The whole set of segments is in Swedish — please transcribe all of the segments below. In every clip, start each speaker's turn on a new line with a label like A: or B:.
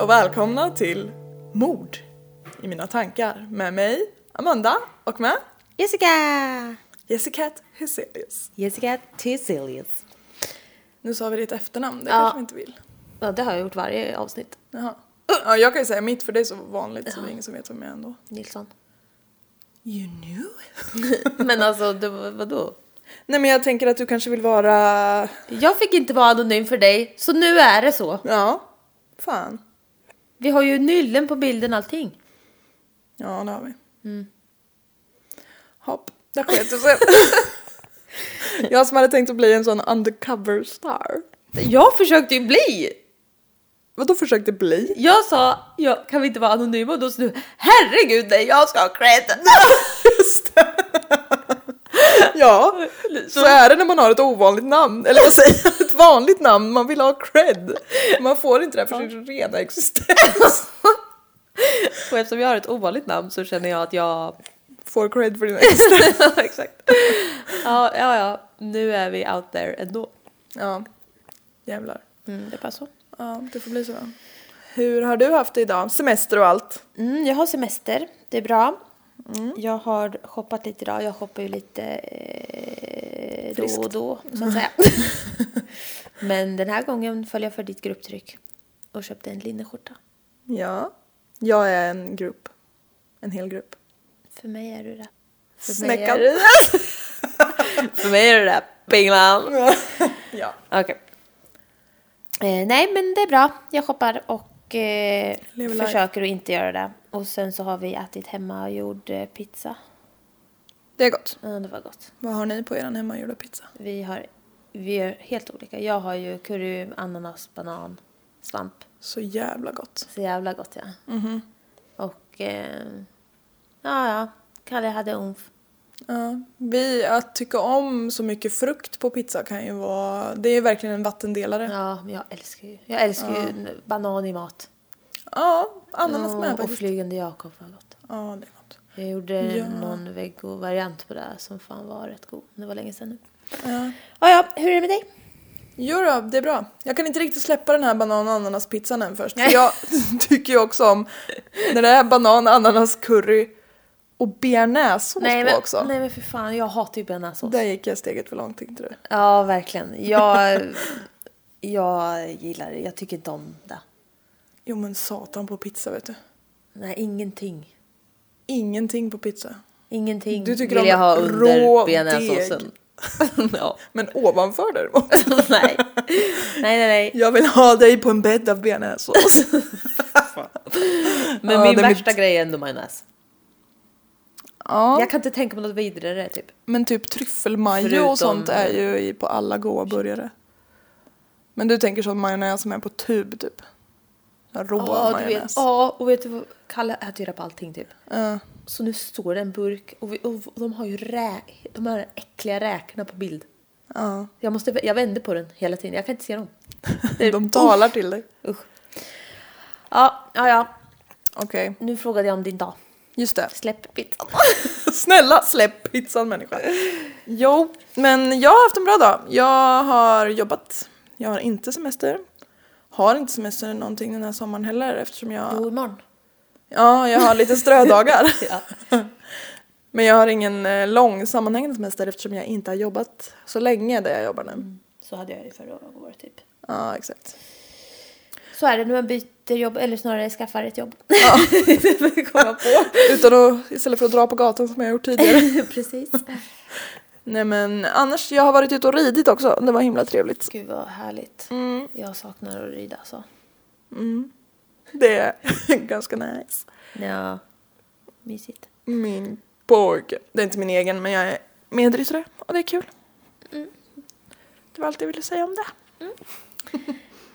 A: och välkomna till Mord i mina tankar med mig, Amanda och med
B: Jessica!
A: Jessica Hyselius.
B: Jessica Tiselius.
A: Nu sa vi ditt efternamn, det
B: Ja.
A: kanske vi inte vill.
B: Ja, det har jag gjort varje avsnitt.
A: Jaha. Uh, Ja, jag kan ju säga mitt för det är så vanligt så det är ingen som vet vem jag är ändå.
B: Nilsson.
A: You knew?
B: Men alltså, det, var- vadå?
A: Nej men jag tänker att du kanske vill vara...
B: Jag fick inte vara anonym för dig, så nu är det så.
A: Ja, fan.
B: Vi har ju nyllen på bilden allting.
A: Ja, det har vi. Hopp, där sket det sig. Jag som hade tänkt att bli en sån undercover star.
B: Jag försökte ju bli!
A: Vadå försökte bli?
B: Jag sa, ja, kan vi inte vara anonyma? Och då sa du, herregud nej, jag ska ha cred!
A: Ja, så är det när man har ett ovanligt namn. Eller vad säger jag? Ett vanligt namn, man vill ha cred. Man får inte det för sin rena existens.
B: Och eftersom jag har ett ovanligt namn så känner jag att jag...
A: Får cred för din existens.
B: Exakt. Ja, ja, ja, nu är vi out there ändå.
A: Ja, jävlar.
B: Mm, det passar.
A: Ja, det får bli så. Hur har du haft det idag? Semester och allt?
B: Mm, jag har semester, det är bra. Mm. Jag har shoppat lite idag, jag shoppar ju lite eh, då och
A: Friskt. Mm.
B: då så att säga. Men den här gången föll jag för ditt grupptryck och köpte en linneskjorta.
A: Ja, jag är en grupp. En hel grupp.
B: För mig är du det. För mig är
A: Snäckan.
B: du det. För mig är du det, pinglan.
A: ja.
B: Okej. Eh, nej men det är bra, jag shoppar och eh,
A: Lever life.
B: försöker att inte göra det. Och sen så har vi ätit hemmagjord eh, pizza.
A: Det är gott.
B: Ja, det var gott.
A: Vad har ni på er hemmagjorda pizza?
B: Vi har vi är helt olika. Jag har ju curry, ananas, banan, svamp.
A: Så jävla gott.
B: Så jävla gott ja.
A: Mhm.
B: Och eh, ja, ja. Kalle hade umf.
A: Ja, vi, att tycka om så mycket frukt på pizza kan ju vara... Det är verkligen en vattendelare. Ja,
B: Ja, men jag älskar ju, jag älskar ju n- banan i mat.
A: ananas
B: Ja,
A: med
B: och
A: faktiskt.
B: flygande Jakob var gott.
A: Ja, det är gott.
B: Jag gjorde
A: Ja.
B: någon vego-variant på det här som fan var rätt god. Det var länge sedan nu.
A: Ja.
B: Ja, ja, hur är det med dig?
A: Jo då, det är bra. Jag kan inte riktigt släppa den här banan och ananaspizzan än först. För jag tycker ju också om när det är banan, ananas, curry och bearnaisesås på
B: men,
A: också.
B: nej men för fan, jag hatar ju bearnaisesås.
A: Där gick jag steget för långt tyckte du.
B: Ja, verkligen. Jag, jag gillar det. Jag tycker inte om det.
A: Jo men satan på pizza vet du.
B: Nej, ingenting.
A: Ingenting på pizza.
B: Ingenting
A: Du tycker
B: vill
A: om
B: jag ha
A: rå
B: under bearnaisesåsen. ja.
A: Men ovanför däremot.
B: nej. nej, nej, nej.
A: Jag vill ha dig på en bädd av bearnaisesås.
B: Men
A: Ja,
B: min
A: det är
B: värsta grej är ändå majonnäs.
A: ja.
B: Jag kan inte tänka mig något vidare typ.
A: Men typ tryffelmajo
B: Förutom-
A: och sånt är ju i- på alla goa burgare. Men du tänker sån majonnäs som är på tub typ? Rå
B: Ja, du vet.
A: majonnäs.
B: Ja, och vet du vad? Kalle äter ju det på allting typ.
A: Ja.
B: Så nu står det en burk och, vi, och de har ju rä, de här äckliga räkorna på bild.
A: Ja.
B: Jag, måste, jag vänder på den hela tiden, jag kan inte se dem. Det är-
A: De talar till dig.
B: Usch. Ja, ja, ja.
A: Okej,
B: Nu frågade jag om din dag.
A: just det.
B: Släpp pizzan.
A: Snälla släpp pizzan människa. Jo, men jag har haft en bra dag. Jag har jobbat. Jag har inte semester. Har inte semester någonting den här sommaren heller eftersom jag...
B: Jo, imorgon.
A: Ja, jag har lite strödagar.
B: Ja.
A: Men jag har ingen eh, lång sammanhängande semester eftersom jag inte har jobbat så länge där jag jobbar nu.
B: Så hade jag ju förra året typ.
A: Ja, exakt.
B: Så är det när man byter jobb, eller snarare skaffar ett jobb.
A: Ja.
B: Det kom jag på.
A: Utan att, istället för att dra på gatan som jag gjort tidigare.
B: Precis.
A: Nej men annars, jag har varit ute och ridit också. Det var himla trevligt.
B: Gud vad härligt. Jag saknar att rida så.
A: Mm. Det är ganska nice.
B: Ja, mysigt.
A: Min pojke. Det är inte min egen men jag är medryttare och det är kul. Det var allt jag ville säga om det.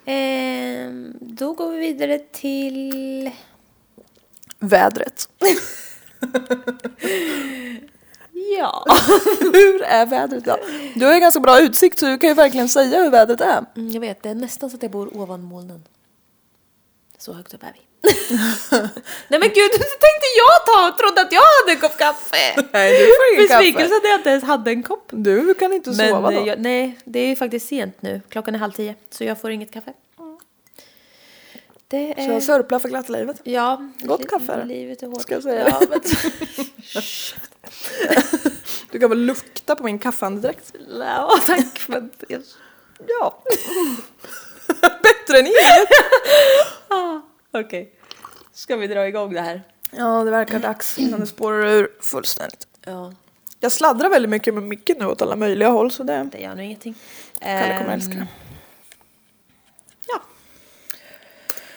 B: Ehm, då går vi vidare till...
A: Vädret.
B: Ja.
A: Hur är vädret idag? Du har ju ganska bra utsikt så du kan ju verkligen säga hur vädret är.
B: Mm, Jag vet, det är nästan så att jag bor ovan molnen. Så högt upp är vi. Nej men gud, så tänkte jag ta! Trodde att jag hade en kopp kaffe!
A: Nej du får ingen
B: Besvikelse
A: kaffe.
B: att jag inte ens hade en kopp.
A: Du kan inte sova
B: Men
A: då.
B: eh, jag, nej, det är ju faktiskt sent nu. Klockan är halv tio, så jag får inget kaffe. Det
A: Mm. Så jag
B: är...
A: sörplar för glatta livet.
B: Ja.
A: Gott
B: li-
A: kaffe.
B: Livet är hårt.
A: Ska jag säga.
B: Ja, men...
A: Du kan väl lukta på min kaffeandedräkt?
B: ja, tack. Men... Ja.
A: Bättre än inget!
B: Ah, Okej. Ska vi dra igång det här?
A: Ja, det verkar dags innan det spårar ur fullständigt.
B: Ja.
A: Jag sladdrar väldigt mycket med micken nu åt alla möjliga håll så det...
B: Det gör nog ingenting.
A: Kalle
B: Ehm,
A: kommer älska det.
B: Ja.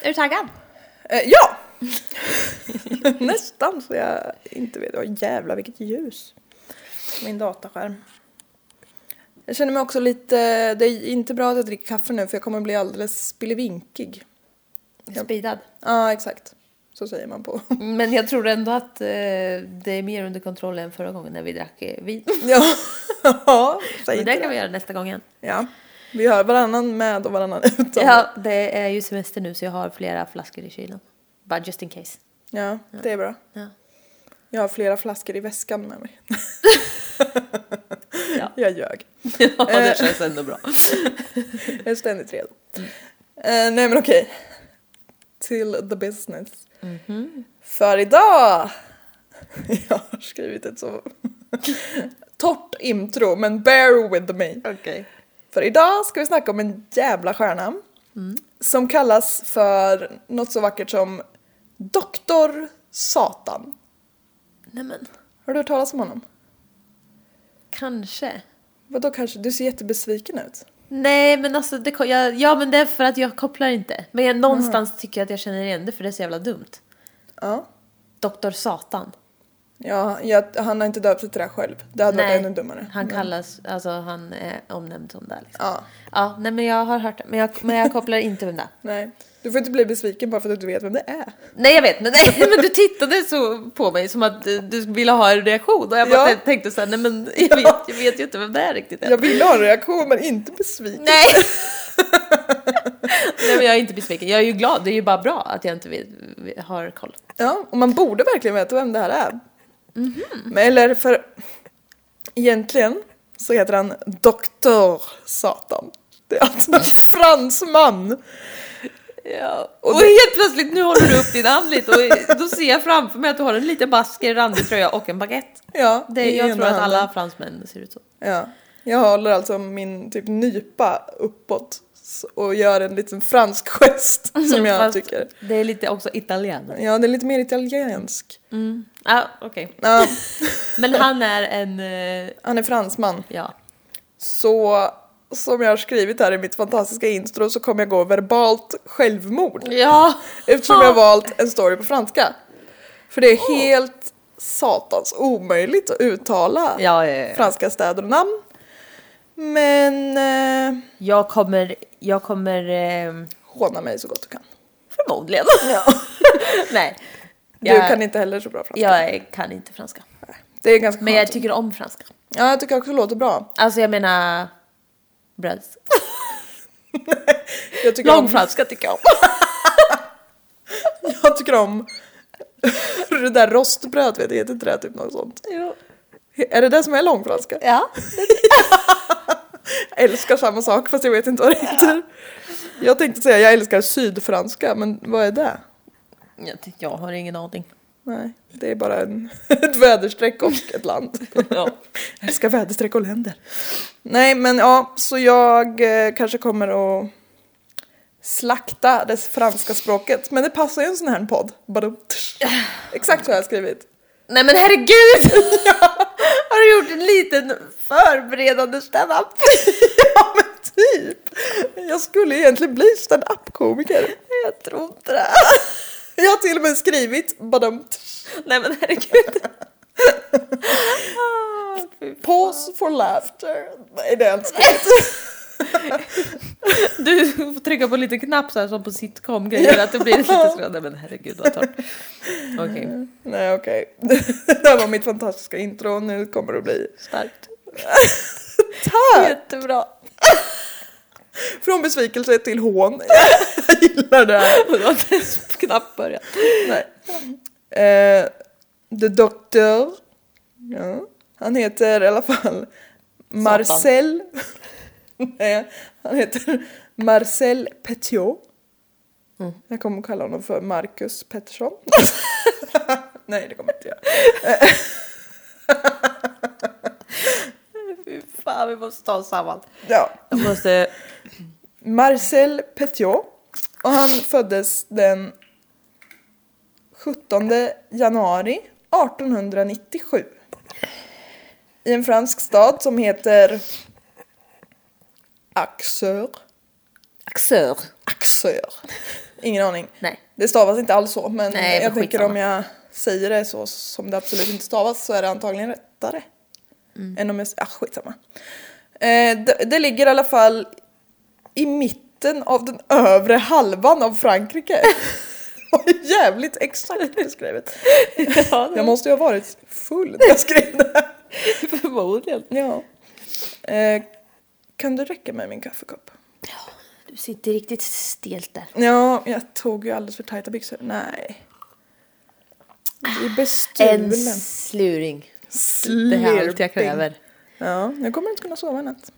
B: Är du taggad?
A: Eh, ja! Nästan så jag inte vet. Åh jävlar vilket ljus. Min dataskärm. Jag känner mig också lite... Det är inte bra att jag dricker kaffe nu för jag kommer bli alldeles spillevinkig. Ja.
B: Speedad.
A: Ja, exakt. Så säger man på...
B: Men jag tror ändå att eh, det är mer under kontroll än förra gången när vi drack eh, vin.
A: ja, ja säg
B: Men
A: inte
B: det kan
A: det.
B: vi göra nästa gång igen.
A: Ja. Vi hör varannan med och varannan utan.
B: Ja, det är ju semester nu så jag har flera flaskor i kylen. Bara just in case.
A: ja, det är bra.
B: Ja.
A: Jag har flera flaskor i väskan med mig.
B: Ja.
A: Jag ljög.
B: Ja,
A: det
B: känns ändå bra.
A: Jag är ständigt redo. Eh, nej men okej. Till the business.
B: Mhm.
A: För idag! Jag har skrivit ett så torrt intro men bear with me.
B: Okej.
A: För idag ska vi snacka om en jävla stjärna. Som kallas för något så vackert som Doktor Satan.
B: Nej men,
A: Har du hört talas om honom?
B: kanske.
A: Vadå kanske? Du ser jättebesviken ut.
B: Nej men alltså, det, ko- jag, ja men det är för att jag kopplar inte. Men jag, någonstans
A: Mm.
B: tycker jag att jag känner igen det för det är så jävla dumt.
A: Ja.
B: Doktor Satan.
A: Ja, jag, han har inte döpt sig till det här själv. Det hade
B: Nej,
A: varit ännu dummare. Mm.
B: Han kallas, alltså han är omnämnd som det. Liksom.
A: Ja,
B: Ja, nej men jag har hört det. Men jag, men jag kopplar inte vem det är.
A: nej. Du får inte bli besviken bara för att du inte vet vem det är.
B: Nej jag vet, men, nej, men du tittade så på mig som att du, du ville ha en reaktion och jag bara
A: Ja.
B: tänkte såhär, nej men jag vet, jag vet ju inte vem det är riktigt.
A: Jag ville ha en reaktion men inte besviken.
B: Nej! nej men jag är inte besviken, jag är ju glad, det är ju bara bra att jag inte vet, har koll.
A: Ja, och man borde verkligen veta vem det här är.
B: Mhm.
A: Men, eller för... Egentligen så heter han Doktor Satan. Det är alltså en fransman.
B: Ja. Och, helt plötsligt, nu håller du upp din hand lite och då ser jag framför mig att du har en liten basker, randig tröja och en baguette.
A: Ja,
B: Det,
A: i
B: jag
A: ena
B: tror att
A: handen.
B: alla fransmän ser ut så.
A: Ja. Jag håller alltså min typ nypa uppåt s- och gör en liten fransk gest som jag
B: Fast
A: tycker.
B: Det är lite också italienare.
A: Ja, det är lite mer italiensk.
B: Mm. Ah, okej.
A: Ja,
B: Men han är en... eh,
A: han är fransman.
B: Ja.
A: Så som jag har skrivit här i mitt fantastiska intro så kommer jag gå verbalt självmord.
B: Ja! Oh.
A: Eftersom jag har valt en story på franska. För det är helt satans omöjligt att uttala
B: Ja, ja, ja.
A: franska städer och namn. Men eh,
B: Jag kommer... Jag kommer... Eh,
A: håna mig så gott du kan.
B: förmodligen. Nej.
A: Du
B: Jag,
A: kan inte heller så bra franska.
B: jag är- kan inte franska.
A: Det är ganska
B: Men
A: skönt.
B: jag tycker om franska.
A: Ja, jag tycker också det låter bra.
B: Alltså jag menar... Bröds.
A: Jag tycker, om,
B: Långfranska tycker jag om.
A: jag tycker om det där rostbröd, vet du, heter inte det typ något sånt?
B: Jo.
A: Är det det som är långfranska?
B: Ja.
A: Jag älskar samma sak fast jag vet inte vad det heter. Jag tänkte säga jag älskar sydfranska, men vad är det?
B: Jag, ty- jag har ingen aning.
A: Nej, det är bara en, ett väderstreck och ett land.
B: Ja.
A: Jag älskar väderstreck och länder. Nej, men ja, så jag eh, kanske kommer att slakta det franska språket. Men det passar ju en sån här podd. Bara, exakt så har jag skrivit.
B: Nej men herregud! Har du gjort en liten förberedande standup?
A: Ja, men typ! Jag skulle egentligen bli stand-up-komiker.
B: Jag tror inte det.
A: Jag har till och med skrivit badum,
B: Nej men herregud. Ah, fy.
A: pause for laughter. Nej, det är inte
B: Du får trycka på lite knapp så här som på sitcom-grejer att det blir lite så. Nej men herregud vad torrt. Okej,
A: Nej, okej. Det här var mitt fantastiska intro. Nu kommer det att bli
B: starkt.
A: tack!
B: Jättebra.
A: Från besvikelse till hån. Jag gillar det här.
B: Och då har det ens knappt börjat.
A: Nej. Eh, the Doctor. Ja. Han heter i alla fall Marcel. Nej, han heter Marcel Petiot. Jag kommer kalla honom för Marcus Pettersson. Nej, det kommer jag inte göra.
B: Fy fan, vi måste ta oss samman.
A: Ja.
B: Jag måste...
A: Marcel Petiot. Och han föddes den 17 januari 1897. I en fransk stad som heter Axeur.
B: Axör.
A: Axeur. Ingen aning.
B: Nej.
A: Det stavas inte alls så men
B: Nej, men
A: jag tänker om
B: skitsamma.
A: jag säger det så som det absolut inte stavas så är det antagligen rättare.
B: Mm.
A: Än om jag säger, ah skitsamma. Eh, det, det ligger i alla fall i mitten av den övre halvan av Frankrike. Det var Jävligt exakt beskrivet. Jag måste ju ha varit full när jag skrev det här.
B: Förmodligen.
A: Ja. Eh, kan du räcka mig min kaffekopp?
B: Du sitter riktigt stelt där.
A: Ja, jag tog ju alldeles för tajta byxor. Nej. Du är
B: Ah, En
A: bestulen.
B: sluring. Det
A: Slurping.
B: här är allt jag kräver.
A: Ja, nu kommer du inte kunna sova i natt.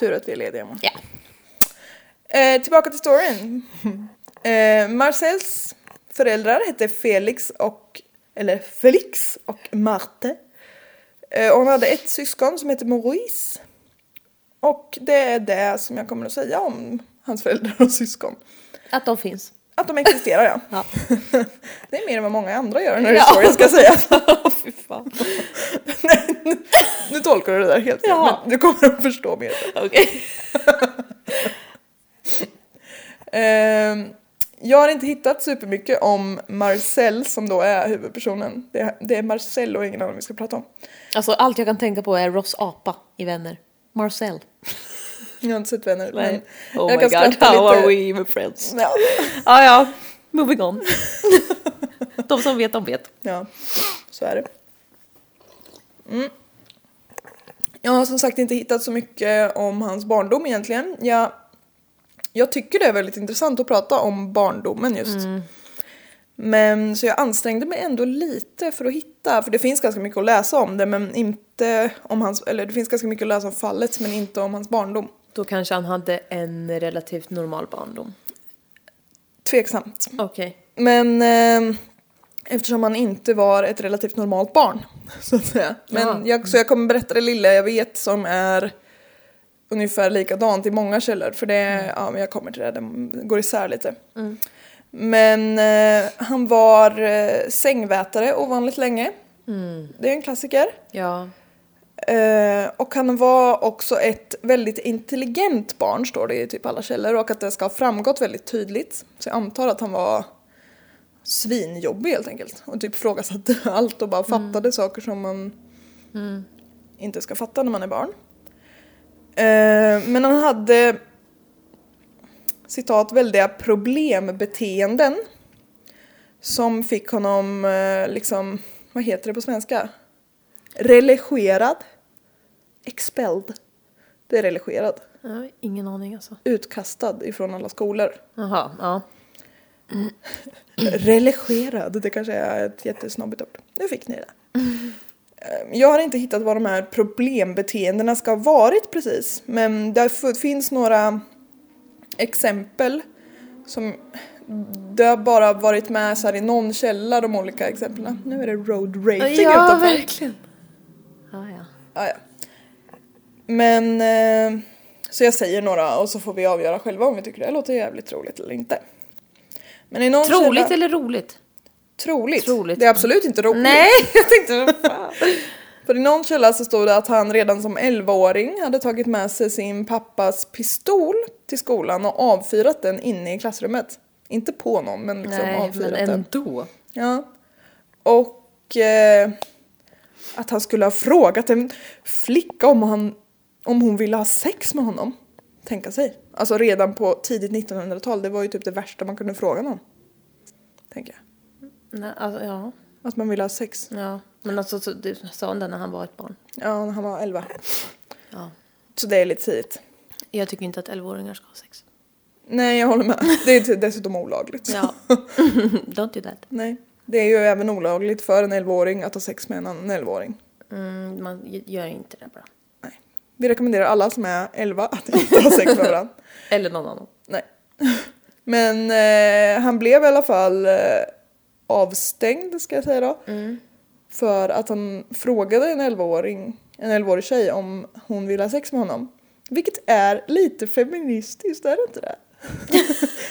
A: Tur att vi är lediga imorgon.
B: Ja.
A: Eh, tillbaka till storyn. Eh, Marcels föräldrar hette Felix och, eller Felix och Marte. Eh, och hon hade ett syskon som hette Maurice. Och det är det som jag kommer att säga om hans föräldrar och syskon.
B: Att de finns.
A: Att de existerar ja.
B: Ja.
A: Det är mer än vad många andra gör när det
B: Ja.
A: är jag ska säga.
B: Fy fan.
A: Nej, nu, nu tolkar du det där helt fel,
B: Ja.
A: men du kommer att förstå mer.
B: Okej.
A: Ehm, jag har inte hittat supermycket om Marcel som då är huvudpersonen. Det, det är Marcel och ingen annan vi ska prata om.
B: Alltså allt jag kan tänka på är Ross apa i Vänner. Marcel.
A: Jag har inte sett vänner. Men
B: Nej. Oh
A: jag
B: my
A: kan
B: god,
A: skratta
B: how
A: lite.
B: are we even friends?
A: Ja,
B: Ja, ja. Moving on. de som vet, de vet.
A: ja, så är det. Mm. Jag har som sagt inte hittat så mycket om hans barndom egentligen. Jag, jag tycker det är väldigt intressant att prata om barndomen just. Men så jag ansträngde mig ändå lite för att hitta, för det finns ganska mycket att läsa om det men inte om hans, eller det finns ganska mycket att läsa om fallet men inte om hans barndom.
B: Då kanske han hade en relativt normal barndom.
A: Tveksamt.
B: Okej.
A: Men eh, eftersom han inte var ett relativt normalt barn så att säga. Men
B: Ja.
A: jag, så jag kommer berätta det lilla jag vet som är ungefär likadant i många källor för det, ja men jag kommer till det, det går isär lite. Men eh, han var eh, sängvätare ovanligt länge. Det är en klassiker.
B: Ja.
A: Eh, och han var också ett väldigt intelligent barn står det i typ alla källor och att det ska ha framgått väldigt tydligt. Så jag antar att han var svinjobbig helt enkelt och typ frågasatte allt och bara fattade saker som man inte ska fatta när man är barn. Eh, men han hade citat väldiga problembeteenden som fick honom eh, liksom, vad heter det på svenska? Religerad. Expelled. Det är religerad.
B: ja ingen aning alltså.
A: Utkastad ifrån alla skolor.
B: Jaha, ja.
A: Religerad, det kanske är ett jättesnobbigt ord. Nu fick ni det. Eh, Jag har inte hittat vad de här problembeteendena ska ha varit precis. Men det f- finns några exempel som det har bara varit med så här i någon källa de olika exemplen. Nu är det road raging
B: Ja,
A: utanför.
B: verkligen. Ja, ja.
A: Ja, ja. Men... Eh, så jag säger några och så får vi avgöra själva om vi tycker det låter jävligt troligt eller inte. Men i någon
B: Troligt
A: källa,
B: eller roligt?
A: troligt?
B: Troligt.
A: Det är absolut inte roligt.
B: Nej, jag tänkte vad fan.
A: För i någon källa så stod det att han redan som 11-åring hade tagit med sig sin pappas pistol till skolan och avfyrat den inne i klassrummet. Inte på någon men liksom
B: Nej,
A: avfyrat
B: men
A: den.
B: ändå.
A: Ja. Och eh, att han skulle ha frågat en flicka om, han, om hon ville ha sex med honom. Tänka sig. Alltså redan på tidigt 1900-tal, det var ju typ det värsta man kunde fråga någon. Tänker jag.
B: Nej, alltså, ja.
A: Att man ville ha sex.
B: ja. Men alltså, så, du sa han det när han var ett barn?
A: Ja, när han var 11.
B: Ja.
A: Så det är lite tidigt.
B: Jag tycker inte att 11-åringar ska ha sex.
A: Nej, jag håller med. Det är t- dessutom olagligt.
B: Ja. Don't do that.
A: Nej. Det är ju även olagligt för en 11-åring att ha sex med en annan 11-åring.
B: Mm, man g- gör inte det bra.
A: Nej. Vi rekommenderar alla som är 11 att inte ha sex med varandra.
B: Eller någon annan.
A: Nej. Men eh, han blev i alla fall eh, avstängd ska jag säga då. För att han frågade en 11-åring, en 11-årig tjej om hon ville ha sex med honom. Vilket är lite feministiskt, är det inte det?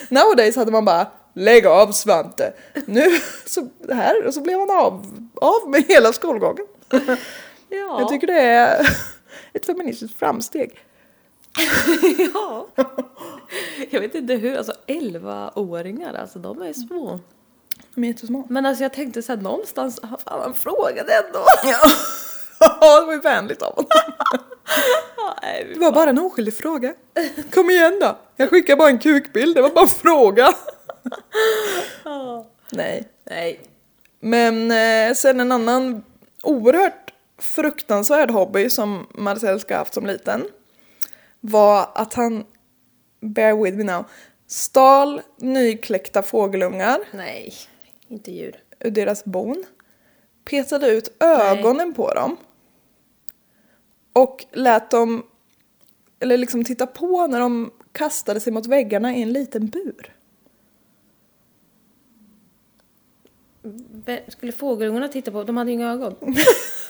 A: Nowadays hade man bara lägg av Svante. Nu så här och så blev han av, av med hela skolgången.
C: Ja.
A: Jag tycker det är ett feministiskt framsteg.
C: ja. Jag vet inte hur, alltså 11-åringar, alltså de är små.
A: De är jättesmå.
C: Men alltså jag tänkte såhär någonstans, ah, fan han frågade ändå.
A: Ja, det var ju vänligt av honom.
C: Ja, nej, vi
A: Det var bara en oskyldig fråga. Kom igen då. Jag skickar bara en kukbild, det var bara en fråga.
C: Ja.
A: Nej.
C: Nej.
A: Men eh, sen en annan oerhört fruktansvärd hobby som Marcel ska ha haft som liten var att han, bear with me now, stal nykläckta fågelungar
C: Nej. Inte djur.
A: ur deras bon, petade ut ögonen på dem och lät dem, eller liksom titta på när de kastade sig mot väggarna i en liten bur.
C: Be- Skulle fågelungarna titta på, de hade ju inga ögon.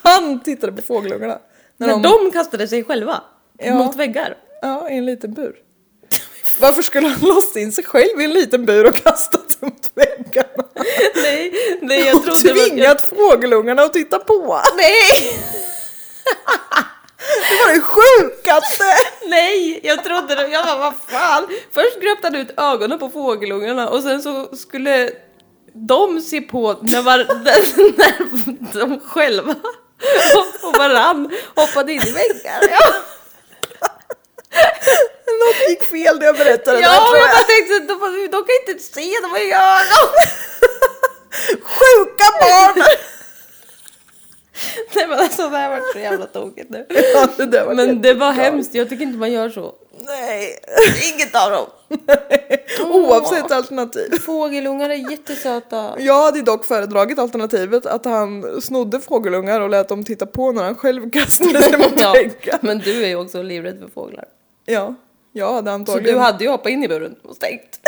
A: Han tittade på fågelungarna.
C: När de, kastade sig själva
A: Ja.
C: mot väggar.
A: Ja, i en liten bur. Varför skulle han låsa in sig själv i en liten bur och kasta sig mot väggarna?
C: Nej, nej jag
A: och
C: trodde...
A: tvingat
C: Jag,
A: fågelungarna att titta på!
C: nej!
A: Det var det sjukaste!
C: Nej! Jag trodde det, jag bara vad fan! Först gröpte han ut ögonen på fågelungarna och sen så skulle de se på när, var, när de själva och varann hoppade in i väggar. Ja.
A: Något gick fel när jag berättade det här
C: Ja,
A: tror
C: jag
A: jag.
C: bara tänkte de, de kan ju inte se, de har inga ögon!
A: Sjuka barn!
C: Nej men alltså det här var så jävla tokigt nu.
A: Ja, det där var
C: Men det var
A: jättebra.
C: hemskt, jag tycker inte man gör så.
A: Nej.
C: Inget av dem!
A: Oavsett alternativ.
C: Fågelungar är jättesöta.
A: Jag hade dock föredragit alternativet att han snodde fågelungar och lät dem titta på när han själv kastade sig mot
C: Ja,
A: väggen.
C: men du är ju också livrädd för fåglar.
A: Ja, jag hade
C: Så
A: antagligen...
C: du hade ju hoppat in i buren och stängt.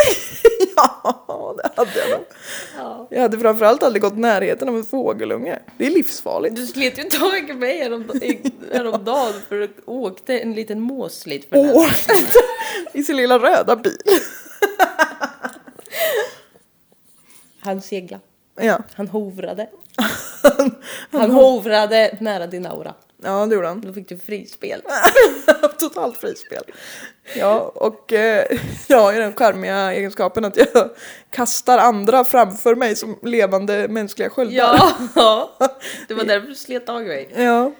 A: Ja, det hade jag nog. Jag hade framförallt aldrig gått närheten av en fågelunge. Det är livsfarligt.
C: Du slet ju tag i mig härom- i- häromdagen för att åkte en liten måslit för den.
A: Åh, I sin lilla röda bil.
C: Han segla.
A: Ja,
C: Han hovrade. Han hovrade nära din aura.
A: ja det gjorde han.
C: Då fick du frispel.
A: Totalt frispel. Ja, och eh, jag har ju den charmiga egenskapen att jag kastar andra framför mig som levande mänskliga sköldar.
C: Ja, det var därför du slet tag i mig.
A: Ja.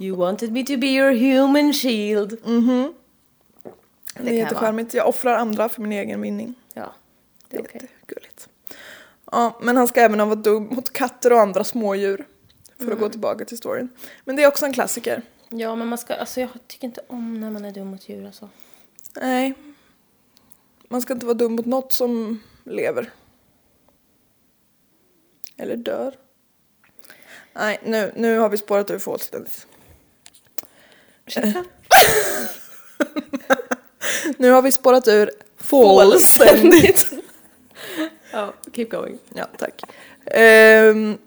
C: You wanted me to be your human shield.
A: mhm. Det
C: kan
A: är
C: jag
A: jättecharmigt. Jag offrar andra för min egen vinning.
C: Ja,
A: Det
C: det
A: är
C: är okej.
A: jättegulligt. Ja, men han ska även ha varit dum mot katter och andra smådjur. För att gå tillbaka till storyn. Men det är också en klassiker.
C: Ja, men man ska, alltså jag tycker inte om när man är dum mot djur alltså.
A: Nej. Man ska inte vara dum mot något som lever. Eller dör. Nej, nu, nu har vi spårat ur fullständigt.
C: Ursäkta?
A: Nu har vi spårat ur fullständigt.
C: Ja, keep going.
A: Ja, tack. Ehm,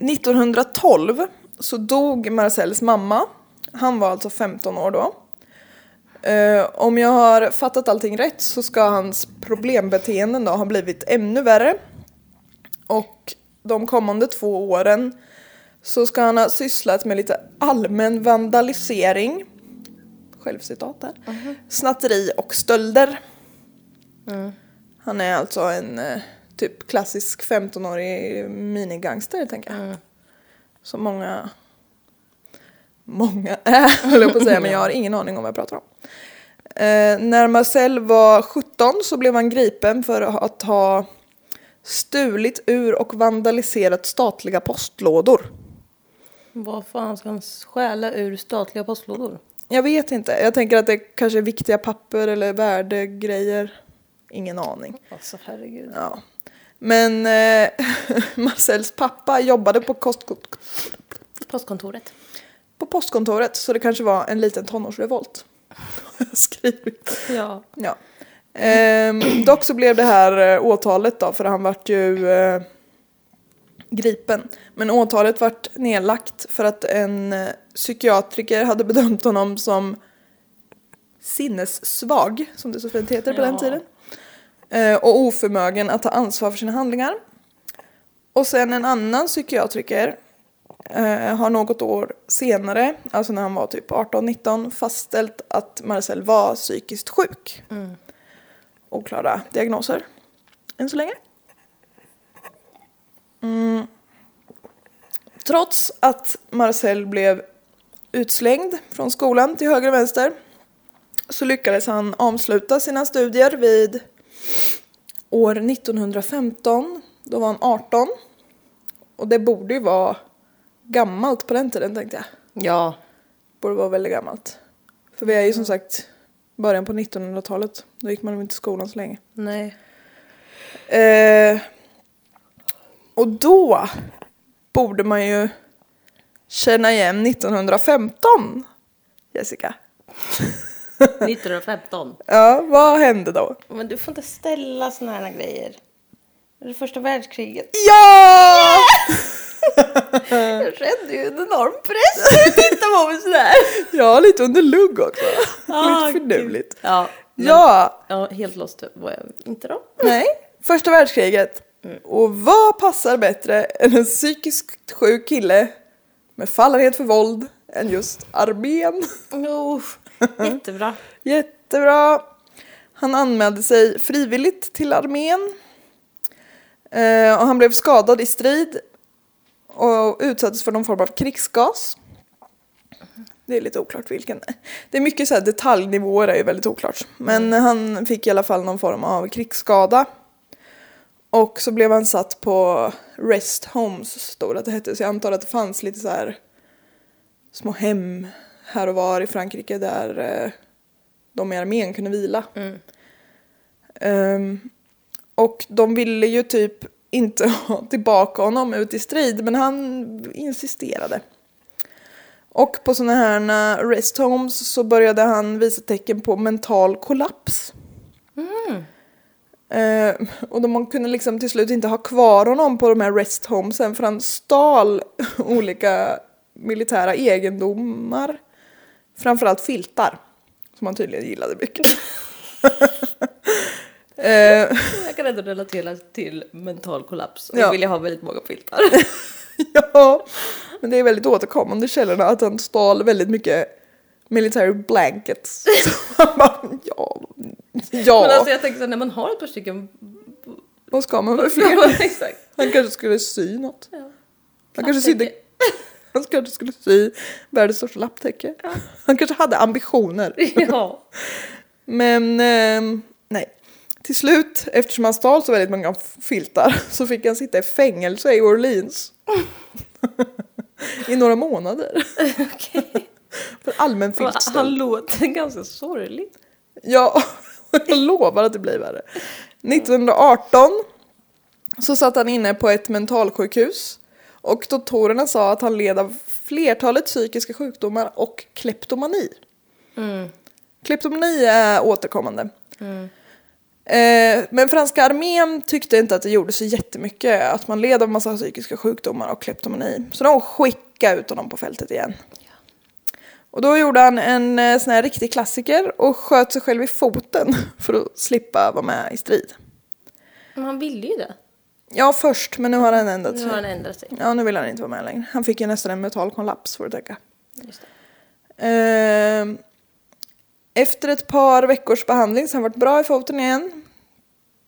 A: 1912 så dog Marcels mamma. Han var alltså 15 år då. Eh, om jag har fattat allting rätt så ska hans problembeteenden då ha blivit ännu värre. Och de kommande två åren så ska han ha sysslat med lite allmän vandalisering, självcitat där, snatteri och stölder. Han är alltså en eh, typ klassisk 15-årig minigangster tänker jag. Som många, många är höll jag på att säga men jag har ingen aning om vad jag pratar om. Eh, när Marcel var 17 så blev han gripen för att ha stulit ur och vandaliserat statliga postlådor.
C: Vad fan ska han stjäla ur statliga postlådor?
A: Jag vet inte, jag tänker att det kanske är viktiga papper eller värdegrejer. Ingen aning.
C: Alltså herregud.
A: Ja. Men eh, Marcels pappa jobbade på, kost,
C: Postkontoret.
A: på postkontoret så det kanske var en liten tonårsrevolt. Har jag Skrivit.
C: Ja.
A: Ja. Ehm, dock så blev det här eh, åtalet då för han vart ju eh, gripen. Men åtalet vart nedlagt för att en eh, psykiatriker hade bedömt honom som sinnessvag, som det så fint heter på den
B: Ja.
A: tiden. Eh, och oförmögen att ta ansvar för sina handlingar. Och sen en annan psykiatriker eh, har något år senare, alltså när han var typ 18-19, fastställt att Marcel var psykiskt sjuk.
C: Mm.
A: Oklara diagnoser, än så länge. Mm. Trots att Marcel blev utslängd från skolan till höger och vänster så lyckades han avsluta sina studier vid år 1915. Då var han 18. Och det borde ju vara gammalt på den tiden tänkte jag.
B: Ja.
A: Borde vara väldigt gammalt. För vi är ju som sagt början på 1900-talet. Då gick man väl inte i skolan så länge.
B: Nej.
A: Eh, och då borde man ju känna igen 1915, Jessica.
B: 1915.
A: Ja, vad hände då?
C: Men du får inte ställa såna här grejer. Det är det första världskriget.
A: Ja!
C: Jag kände ju en enorm press när du tittade på mig sådär.
A: Ja, lite under lugg också.
B: Ah,
A: lite finurligt.
B: Ja.
A: Ja,
B: Ja, helt lost var jag inte då.
A: nej. Första världskriget. Och vad passar bättre än en psykiskt sjuk kille med fallenhet för våld än just armén?
B: Oh, jättebra.
A: Jättebra. Han anmälde sig frivilligt till armén. Eh, och han blev skadad i strid och utsattes för någon form av krigsgas. Det är lite oklart vilken. Det är mycket så här detaljnivåer är ju väldigt oklart. Men han fick i alla fall någon form av krigsskada. Och så blev han satt på Rest Homes, stod det att det hette. Så jag antar att det fanns lite så här små hem här och var i Frankrike där eh, de i armén kunde vila. Ehm, och de ville ju typ inte ha tillbaka honom ut i strid men han insisterade. Och på sådana här eh, rest homes så började han visa tecken på mental kollaps. Ehm, och de kunde liksom till slut inte ha kvar honom på de här rest homesen för han stal olika militära egendomar. Framförallt filtar. Som han tydligen gillade mycket. Eh,
B: Jag kan ändå relatera till mental kollaps och
A: Ja.
B: vill jag ha väldigt många filtar.
A: ja, men det är väldigt återkommande i källorna att han stal väldigt mycket military blankets. Så man bara, ja, ja.
B: Men alltså jag tänker så här, när man har ett par stycken...
A: vad ska man med fler?
B: Ja, exakt.
A: Han kanske skulle sy något.
B: Ja.
A: Han kanske sydde... Han kanske skulle sy världens största lapptäcke. Han kanske hade ambitioner.
B: Ja.
A: Men ehm, nej. Till slut, eftersom han stal så väldigt många f- filtar, så fick han sitta i fängelse i Orleans. I några månader. För allmän
B: Han
A: filtstöld.
B: låter ganska sorglig.
A: Ja, jag lovar att det blir värre. 1918 så satt han inne på ett mentalsjukhus. Och doktorerna sa att han led av flertalet psykiska sjukdomar och kleptomani. Kleptomani är återkommande. Eh, men franska armén tyckte inte att det gjorde så jättemycket att man led av massa psykiska sjukdomar och kleptomani. Så de skickade ut honom på fältet igen. Och då gjorde han en eh, sån här riktig klassiker och sköt sig själv i foten för att slippa vara med i strid.
B: Men han ville ju det.
A: Ja, först, men nu har han ändrat
B: Nu
A: sig.
B: har han ändrat sig.
A: Ja, nu vill han inte vara med längre. Han fick ju nästan en mental kollaps får du tänka.
B: Just det.
A: Ehm, efter ett par veckors behandling så har han varit bra i foten igen.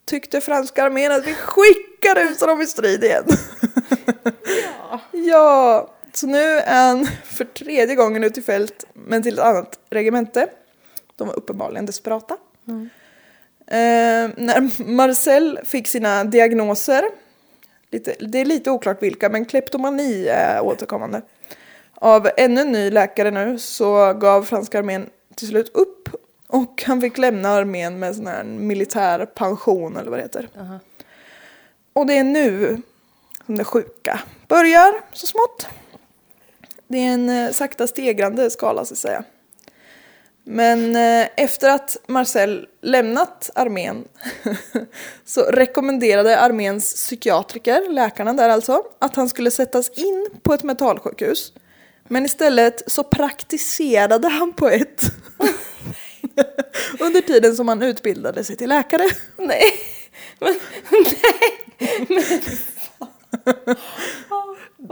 A: Tyckte franska armén att vi skickar ut honom i strid igen. ja. ja. Så nu är han för tredje gången ute i fält men till ett annat regemente. De var uppenbarligen desperata. Ehm, när Marcel fick sina diagnoser, lite, det är lite oklart vilka, men kleptomani är återkommande. Av ännu en ny läkare nu så gav franska armén till slut upp och han fick lämna armén med sån här militär pension eller vad det heter. Och det är nu som det sjuka börjar så smått. Det är en eh, sakta stegrande skala så att säga. Men eh, efter att Marcel lämnat armén så rekommenderade arméns psykiatriker, läkarna där alltså, att han skulle sättas in på ett mentalsjukhus. Men istället så praktiserade han på ett under tiden som han utbildade sig till läkare.
B: Nej. Men, nej. Men,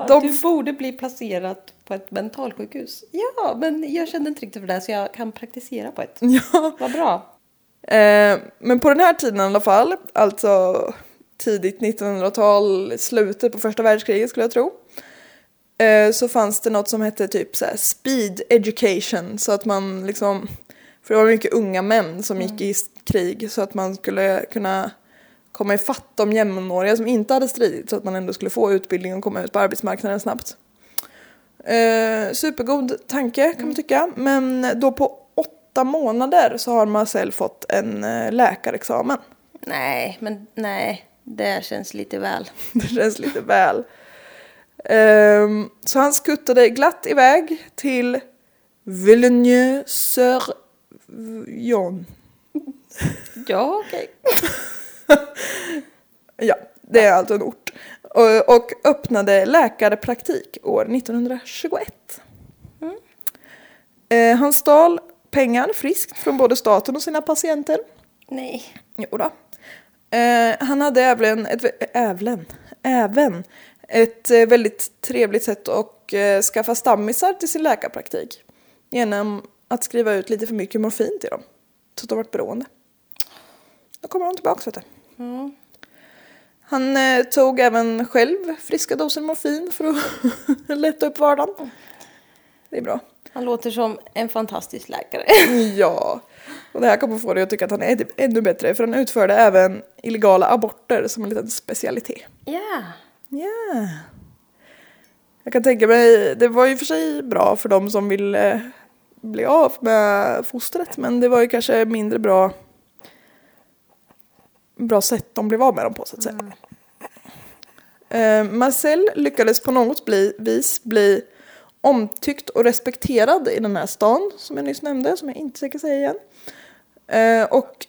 A: De-
B: Du borde bli placerad på ett mentalsjukhus. Ja, men jag kände inte riktigt för det här, så jag kan praktisera på ett.
A: Ja.
B: Vad bra.
A: Eh, men på den här tiden i alla fall, alltså tidigt 1900-tal, slutet på första världskriget skulle jag tro. Eh, så fanns det något som hette typ så här speed education så att man liksom, för det var mycket unga män som gick i s- krig så att man skulle kunna komma ifatt de jämnåriga som inte hade stridit så att man ändå skulle få utbildning och komma ut på arbetsmarknaden snabbt. Eh, supergod tanke kan man tycka. Men då på åtta månader så har Marcel fått en eh, läkarexamen.
B: Nej, men nej. Det känns lite väl.
A: Det känns lite väl. Ehm, så han skuttade glatt iväg till Villeneuve-sur-Yonne.
B: Ja, okej.
A: Ja, det är alltså en ort. Och, och öppnade läkarpraktik år 1921. Eh, han stal pengar friskt från både staten och sina patienter.
B: Nej.
A: Jodå. Eh, han hade även ett, vä- ävlen, även ett eh, väldigt trevligt sätt att eh, skaffa stammisar till sin läkarpraktik. Genom att skriva ut lite för mycket morfin till dem. Så att de vart beroende. Då kommer de tillbaka vet du.
B: Ja.
A: Han eh, tog även själv friska doser morfin för att lätta upp vardagen. Det är bra.
B: Han låter som en fantastisk läkare.
A: Ja. Och det här kommer få dig att tycka att han är typ ännu bättre för han utförde även illegala aborter som en liten specialitet.
B: Ja.
A: Ja. Jag kan tänka mig, det var ju för sig bra för de som vill eh, bli av med fostret men det var ju kanske mindre bra bra sätt de blev av med dem på så att säga. Eh, Marcel lyckades på något bli, vis bli omtyckt och respekterad i den här stan som jag nyss nämnde, som jag inte ska säga igen. Eh, och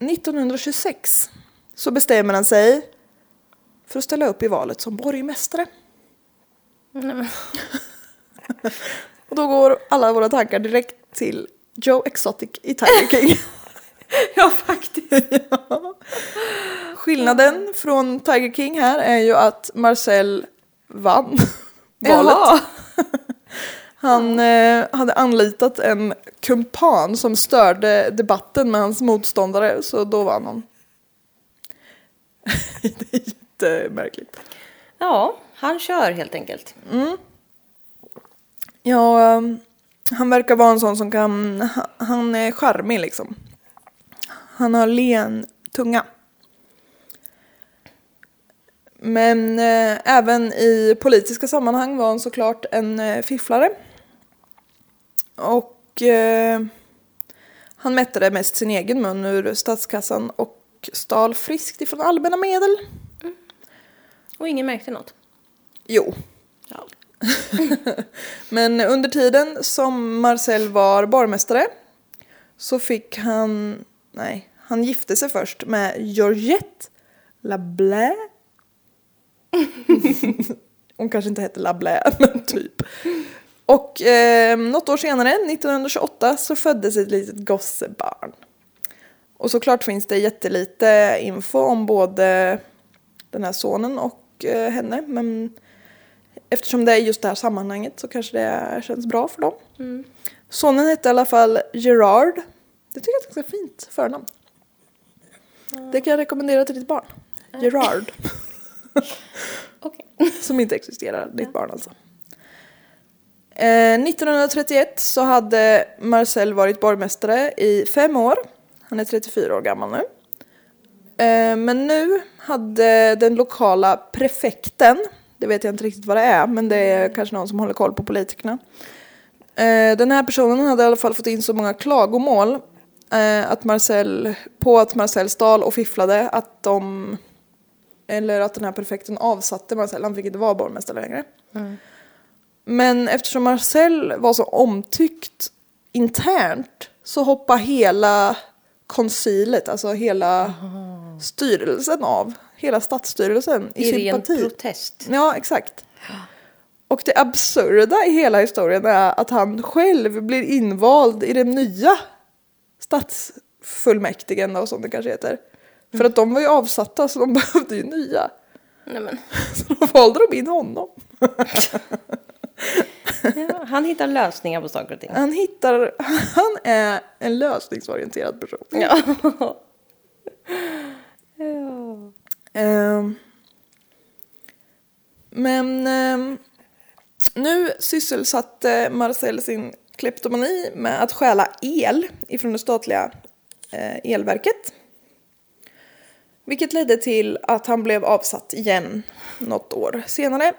A: 1926 så bestämmer han sig för att ställa upp i valet som borgmästare. och då går alla våra tankar direkt till Joe Exotic i Tiger King.
B: ja, faktiskt.
A: Skillnaden från Tiger King här är ju att Marcel vann valet.
B: Jaha.
A: Han eh, hade anlitat en kumpan som störde debatten med hans motståndare, så då vann han. det är jättemärkligt.
B: Ja, han kör helt enkelt.
A: Ja, eh, han verkar vara en sån som kan... ha- Han är charmig liksom. Han har len tunga. Men eh, även i politiska sammanhang var han såklart en eh, fifflare. Och eh, han mätte det mest sin egen mun ur statskassan och stal friskt ifrån allmänna medel.
B: Och ingen märkte något.
A: Jo,
B: Ja.
A: Men under tiden som Marcel var borgmästare så fick han, nej, han gifte sig först med Georgette Lablais. Hon kanske inte hette Lablais, men typ. Och eh, något år senare, 1928, så föddes ett litet gossebarn. Och såklart finns det jättelite info om både den här sonen och eh, henne, men Eftersom det är just det här sammanhanget så kanske det känns bra för dem.
B: Mm.
A: Sonen hette i alla fall Gerard. Det tycker jag är ett ganska fint förnamn. Det kan jag rekommendera till ditt barn. Gerard.
B: Okej.
A: Som inte existerar, ditt barn alltså. Eh, 1931 så hade Marcel varit borgmästare i fem år. Han är 34 år gammal nu. Eh, men nu hade den lokala prefekten, det vet jag inte riktigt vad det är, men det är kanske någon som håller koll på politikerna. Eh, den här personen hade i alla fall fått in så många klagomål eh, att Marcel, på att Marcel stal och fifflade att de eller att den här prefekten avsatte Marcel, han fick inte vara borgmästare längre. Men eftersom Marcel var så omtyckt internt så hoppar hela koncilet, alltså hela styrelsen av, hela statsstyrelsen i,
C: I ren
A: sympati.
C: protest.
A: Ja, exakt. Och det absurda i hela historien är att han själv blir invald i den nya stadsfullmäktigen och sånt det kanske heter. För att de var ju avsatta så de behövde ju nya.
B: Nej, men.
A: Så då valde de in honom.
C: Ja, han hittar lösningar på
B: Mm.
C: saker och ting.
A: Han hittar, han är en lösningsorienterad person.
B: Ja.
A: Ehm, men ehm, nu sysselsatte Marcel sin kleptomani med att stjäla el ifrån det statliga eh, elverket. Vilket ledde till att han blev avsatt igen något år senare.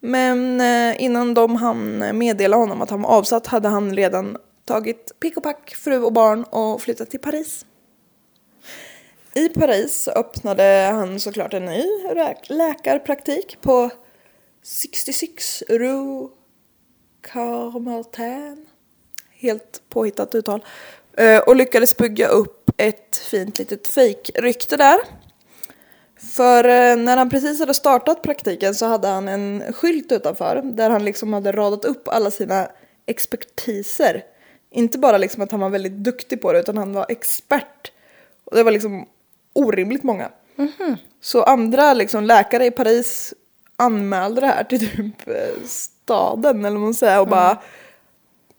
A: Men eh, innan de hann meddela honom att han var avsatt hade han redan tagit pick och pack, fru och barn och flyttat till Paris. I Paris öppnade han såklart en ny rä- läkarpraktik på 66 Rue Carmartin. Helt påhittat uttal. Eh, Och lyckades bygga upp ett fint litet fejkrykte där. För eh, när han precis hade startat praktiken så hade han en skylt utanför där han liksom hade radat upp alla sina expertiser. Inte bara liksom att han var väldigt duktig på det utan han var expert. Och det var liksom orimligt många. Så andra liksom läkare i Paris anmälde det här till typ eh, staden eller vad man säger och bara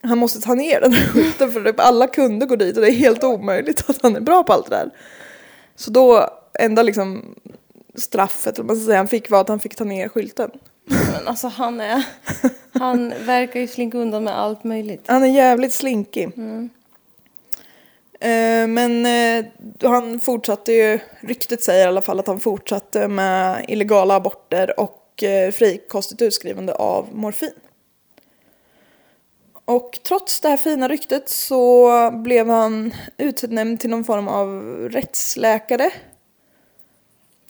A: han måste ta ner den här skylten för typ alla kunder går dit och det är helt omöjligt att han är bra på allt det där. Så då, enda liksom straffet eller vad man ska säga, han fick var att han fick ta ner skylten.
B: Men alltså han är...
C: Han verkar ju slinka undan med allt möjligt.
A: Han är jävligt slinkig. Eh, Men eh, han fortsatte ju, ryktet säger i alla fall att han fortsatte med illegala aborter och eh, frikostigt utskrivande av morfin. Och trots det här fina ryktet så blev han utnämnd till någon form av rättsläkare.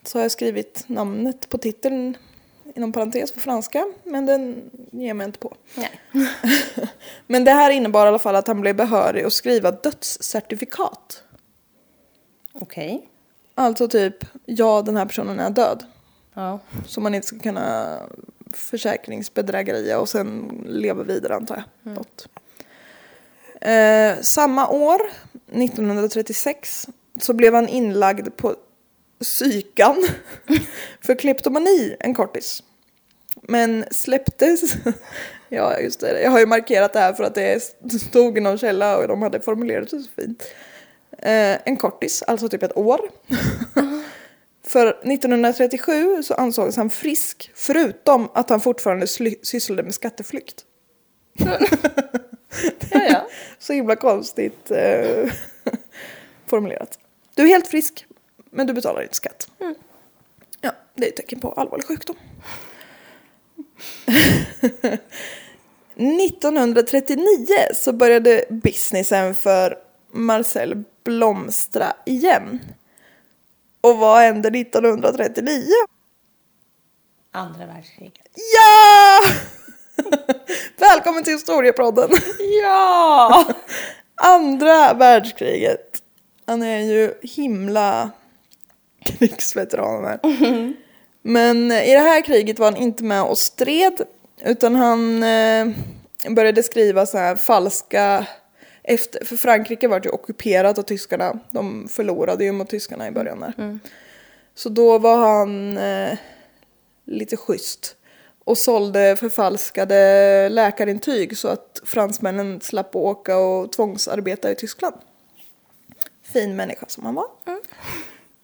A: Så har jag skrivit namnet på titeln inom parentes på franska, men den ger mig inte på.
C: Nej.
A: Men det här innebar i alla fall att han blev behörig att skriva dödscertifikat.
C: Okej.
A: Alltså typ, ja den här personen är död.
C: Ja.
A: Så man inte ska kunna försäkringsbedrägeria och sen leva vidare antar jag. Något. Eh, samma år, 1936, så blev han inlagd på psykan för kleptomani en kortis. Men släpptes... ja, just det. Jag har ju markerat det här för att det stod i någon källa och de hade formulerat det så fint. Eh, en kortis, alltså typ ett år. För 1937 så ansågs han frisk, förutom att han fortfarande sly- sysslade med skatteflykt.
C: Ja, ja.
A: Så himla konstigt eh, formulerat. Du är helt frisk, men du betalar inte skatt. Ja, det är ett tecken på allvarlig sjukdom. 1939 så började businessen för Marcel blomstra igen. Och vad hände 1939?
C: Andra världskriget.
A: Ja! Välkommen till historiepodden.
C: Ja!
A: Andra världskriget. Han är ju himla krigsveteran här. Men eh, i det här kriget var han inte med och stred utan han eh, började skriva så här falska efter, för Frankrike var ju ockuperat av tyskarna. De förlorade ju mot tyskarna i början där. Så då var han eh, lite schysst och sålde förfalskade läkarintyg så att fransmännen slapp åka och tvångsarbeta i Tyskland. Fin människa som han var.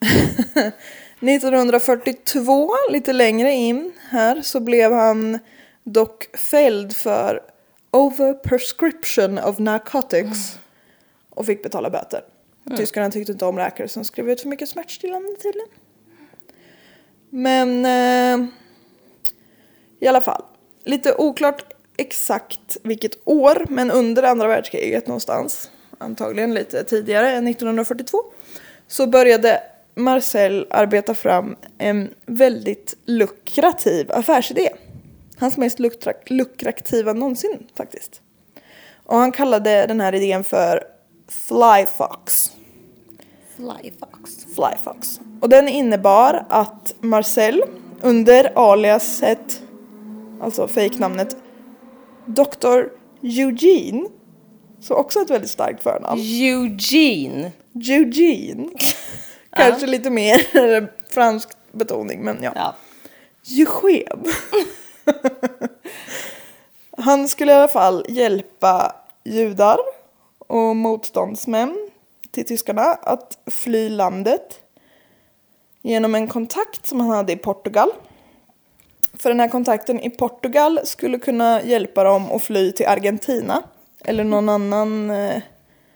A: 1942, lite längre in här, så blev han dock fälld för overprescription of narcotics och fick betala böter. Tyskarna tyckte inte om läkare som skrev ut för mycket smärtstillande tydligen. Men eh, i alla fall, lite oklart exakt vilket år, men under andra världskriget någonstans, antagligen lite tidigare än 1942, så började Marcel arbeta fram en väldigt lukrativ affärsidé. Hans mest lukra- lukrativa någonsin faktiskt. Och han kallade den här idén för Fly Fox.
C: Flyfox.
A: Fly Fox. Och den innebar att Marcel under aliaset, alltså fejknamnet, Dr. Eugene, så också ett väldigt starkt förnamn.
B: Eugene.
A: Eugene. Kanske lite mer fransk betoning men ja.
B: Ja.
A: Eugen. Han skulle i alla fall hjälpa judar och motståndsmän till tyskarna att fly landet genom en kontakt som han hade i Portugal. För den här kontakten i Portugal skulle kunna hjälpa dem att fly till Argentina eller någon annan, eh,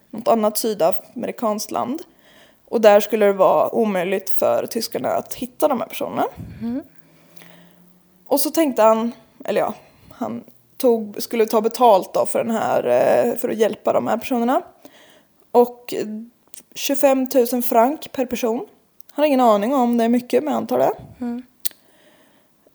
A: något annat sydamerikanskt land. Och där skulle det vara omöjligt för tyskarna att hitta de här personerna. Och så tänkte han, eller ja, han tog, skulle ta betalt då för, den här, eh, för att hjälpa de här personerna. Och eh, 25 000 frank per person. Han har ingen aning om det är mycket, men jag antar det.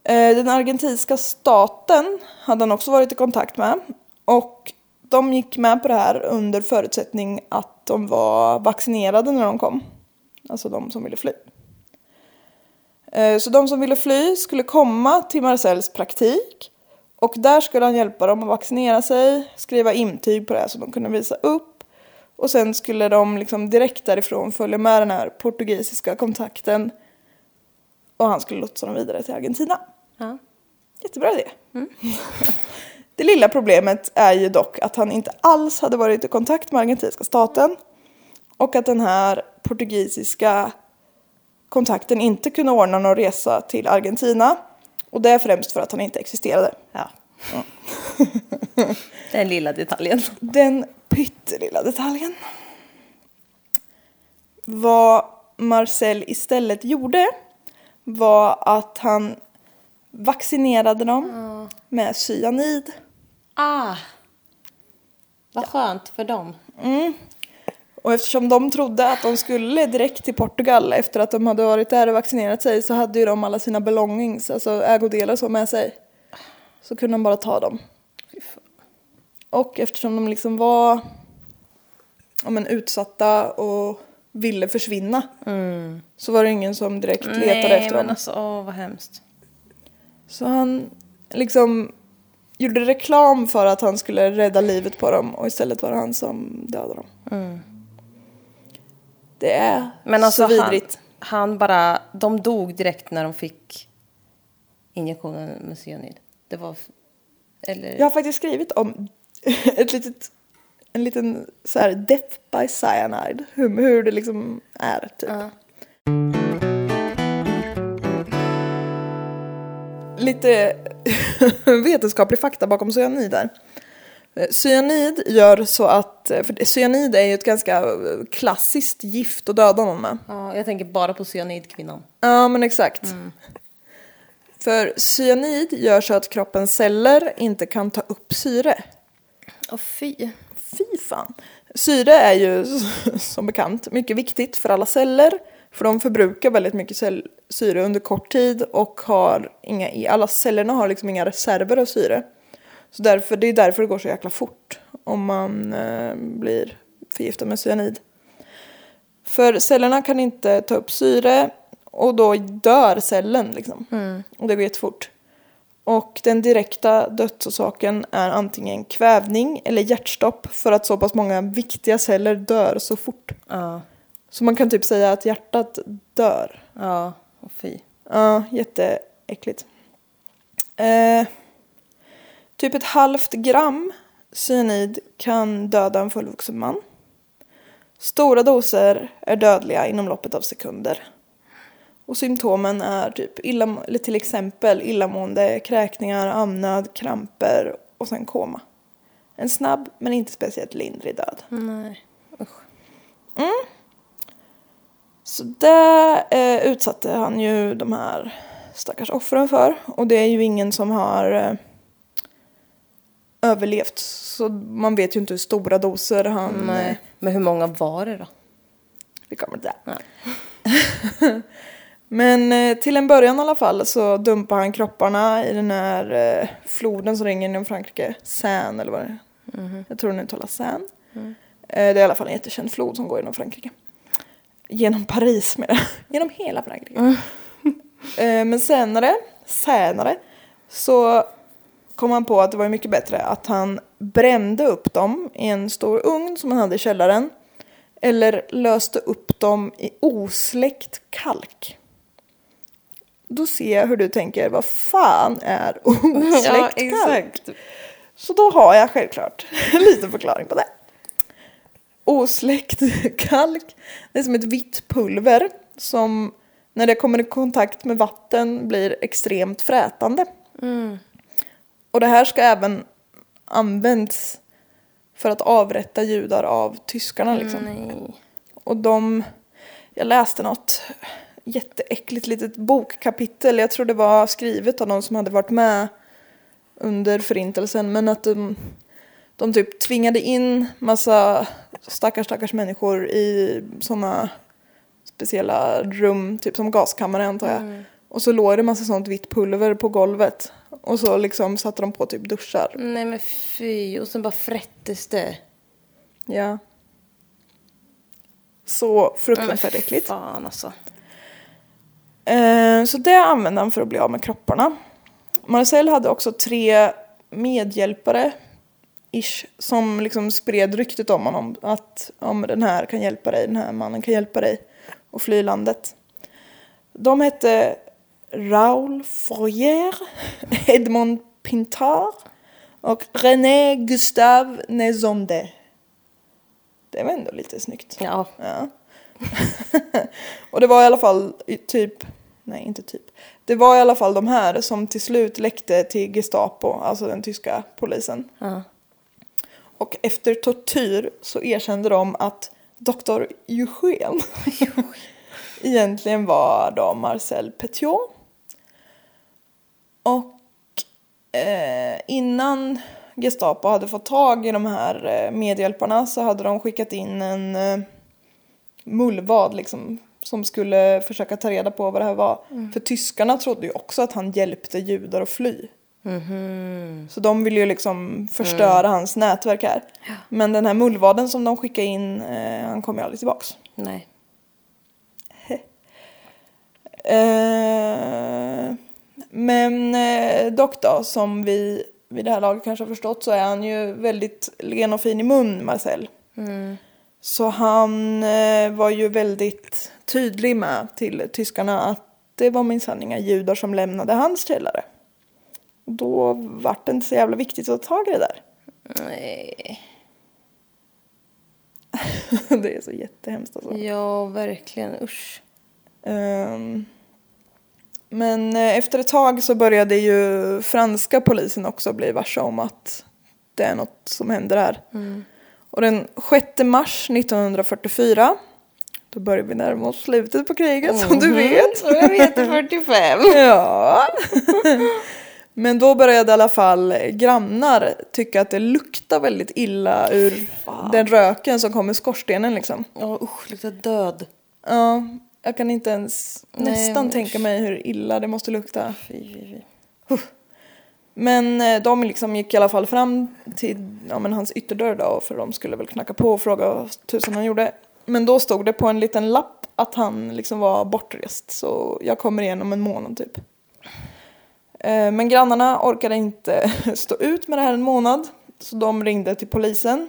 A: Eh, Den argentinska staten hade han också varit i kontakt med. Och de gick med på det här under förutsättning att de var vaccinerade när de kom. Alltså de som ville fly. Eh, Så de som ville fly skulle komma till Marcells praktik och där skulle han hjälpa dem att vaccinera sig, skriva intyg på det här som de kunde visa upp och sen skulle de liksom direkt därifrån följa med den här portugisiska kontakten och han skulle lotsa dem vidare till Argentina.
B: Ja.
A: Jättebra idé. det lilla problemet är ju dock att han inte alls hade varit i kontakt med argentinska staten och att den här portugisiska kontakten inte kunde ordna någon resa till Argentina och det är främst för att han inte existerade.
B: ja. Den lilla detaljen.
A: Den pyttelilla detaljen. Vad Marcel istället gjorde var att han vaccinerade dem med cyanid.
B: Ah. Vad skönt för dem.
A: Mm. Och eftersom de trodde att de skulle direkt till Portugal efter att de hade varit där och vaccinerat sig så hade ju de alla sina belongings, alltså ägodelar och så med sig. Så kunde de bara ta dem. Och eftersom de liksom var ja, men, utsatta och ville försvinna så var det ingen som direkt letade
B: Mm. Nej,
A: efter
B: men
A: dem.
B: alltså åh, vad hemskt.
A: Så han liksom gjorde reklam för att han skulle rädda livet på dem och istället var det han som dödade dem.
B: Mm.
A: Det är
B: Men alltså
A: så vidrigt.
B: Han, han bara, de dog direkt när de fick injektionen med cyanid. Det var, f- eller?
A: Jag har faktiskt skrivit om ett litet, en liten så här death by cyanide, hur, hur det liksom är typ. Lite vetenskaplig fakta bakom cyanid där. Eh, Cyanid gör så att, eh, för cyanid är ju ett ganska eh, klassiskt gift att döda någon med.
B: Ja, jag tänker bara på cyanidkvinnan.
A: Ja, men exakt. För cyanid gör så att kroppens celler inte kan ta upp syre.
B: Åh fy.
A: Fy fan. Syre är ju som bekant mycket viktigt för alla celler. För de förbrukar väldigt mycket cell- syre under kort tid och har inga, i- alla cellerna har liksom inga reserver av syre. Så därför, det är därför det går så jäkla fort om man eh, blir förgiftad med cyanid. För cellerna kan inte ta upp syre och då dör cellen liksom. Och det går jättefort. Och den direkta dödsorsaken är antingen kvävning eller hjärtstopp för att så pass många viktiga celler dör så fort.
B: Ja,
A: Så man kan typ säga att hjärtat dör.
B: ja, åh fy.
A: Ja, jätteäckligt. Eh, typ ett halvt gram cyanid kan döda en fullvuxen man. Stora doser är dödliga inom loppet av sekunder. Och symptomen är typ illa, eller till exempel illamående, kräkningar, amnöd, kramper och sen koma. En snabb men inte speciellt lindrig död.
B: Nej.
A: Så där eh, utsatte han ju de här stackars offren för. Och det är ju ingen som har eh, överlevt. Så man vet ju inte hur stora doser han... eh,
B: Mm, Nej. Men eh, hur många var det då?
A: Vi kommer till det. Men eh, till en början i alla fall så dumpar han kropparna i den här eh,
B: Mm-hmm.
A: floden som ringer inom Frankrike. Seine eller vad det är. Jag tror den uttalas Seine. Eh, Det är i alla fall en jättekänd flod som går genom Frankrike. Genom Paris med Genom hela Frankrike. Eh, Men senare, senare så kom han på att det var mycket bättre att han brände upp dem i en stor ugn som han hade i källaren. Eller löste upp dem i osläckt kalk. Då ser jag hur du tänker, vad fan är osläckt
B: Ja,
A: kalk?
B: exakt.
A: Så då har jag självklart en liten förklaring på det. Osläckt kalk, det är som ett vitt pulver som när det kommer i kontakt med vatten blir extremt frätande. Och det här ska även användas för att avrätta judar av
B: Mm.
C: Mm,
A: tyskarna liksom. Och de, jag läste något jätteäckligt litet bokkapitel, jag tror det var skrivet av någon som hade varit med under förintelsen men att de, de typ tvingade in massa stackars stackars människor i såna speciella rum, typ som gaskammare antar jag.
B: Mm.
A: Och så låg det massa sånt vitt pulver på golvet och så liksom satte de på typ duschar.
B: Nej men fy, och sen bara frättes det.
A: Ja. Så fruktansvärt
B: Men
A: äckligt.
B: Fan alltså.
A: Eh, Så det använde han för att bli av med kropparna. Marcel hade också tre medhjälpare ish, som liksom spred ryktet om honom. Att om den här kan hjälpa dig, den här mannen kan hjälpa dig och fly landet. De hette Raoul Fourier, Edmond Pintard och René Gustave Nezonde. Det var ändå lite snyggt.
B: Ja.
A: Ja. och det var i alla fall i- typ, nej inte typ, det var i alla fall de här som till slut läckte till Gestapo, alltså den tyska polisen.
B: Ja.
A: Och efter tortyr så erkände de att doktor Eugen egentligen var då Marcel Petiot. Och eh, innan Gestapo hade fått tag i de här eh, medhjälparna så hade de skickat in en eh, mullvad liksom som skulle försöka ta reda på vad det här var. För tyskarna trodde ju också att han hjälpte judar att fly.
B: Mm-hmm.
A: Så de vill ju liksom förstöra hans nätverk här. Men den här mullvaden som de skickade in, eh, han kommer ju aldrig tillbaks.
B: Nej.
A: Eh, men eh, dock då, som vi vid det här laget kanske har förstått så är han ju väldigt len och fin i mun, Marcel.
B: Mm.
A: Så han eh, var ju väldigt tydlig med till tyskarna att det var minsann inga judar som lämnade hans källare. Då vart det inte så jävla viktigt att ta tag i det där.
B: Nej.
A: det är så jättehemskt alltså.
B: Ja, verkligen. Usch.
A: Ehm, men eh, efter ett tag så började ju franska polisen också bli varse om att det är något som händer här.
B: Mm.
A: Och den 6 mars 1944, då börjar vi närma oss slutet på kriget som
B: Mhm.
A: du vet.
B: Så Mm-hmm. jag vet 45.
A: Ja. Men då började i alla fall grannar tycka att det luktar väldigt illa ur den röken som kommer ur skorstenen liksom.
B: Ja usch, luktar död.
A: Ja, jag kan inte ens
B: Nej,
A: nästan
B: men-
A: tänka mig hur illa det måste lukta.
B: Fy, fy, fy.
A: Men eh, de liksom gick i alla fall fram till ja, men hans ytterdörr då, för de skulle väl knacka på och fråga vad tusan han gjorde. Men då stod det på en liten lapp att han liksom var bortrest så jag kommer igen om en månad typ. Eh, Men grannarna orkade inte stå ut med det här en månad så de ringde till polisen.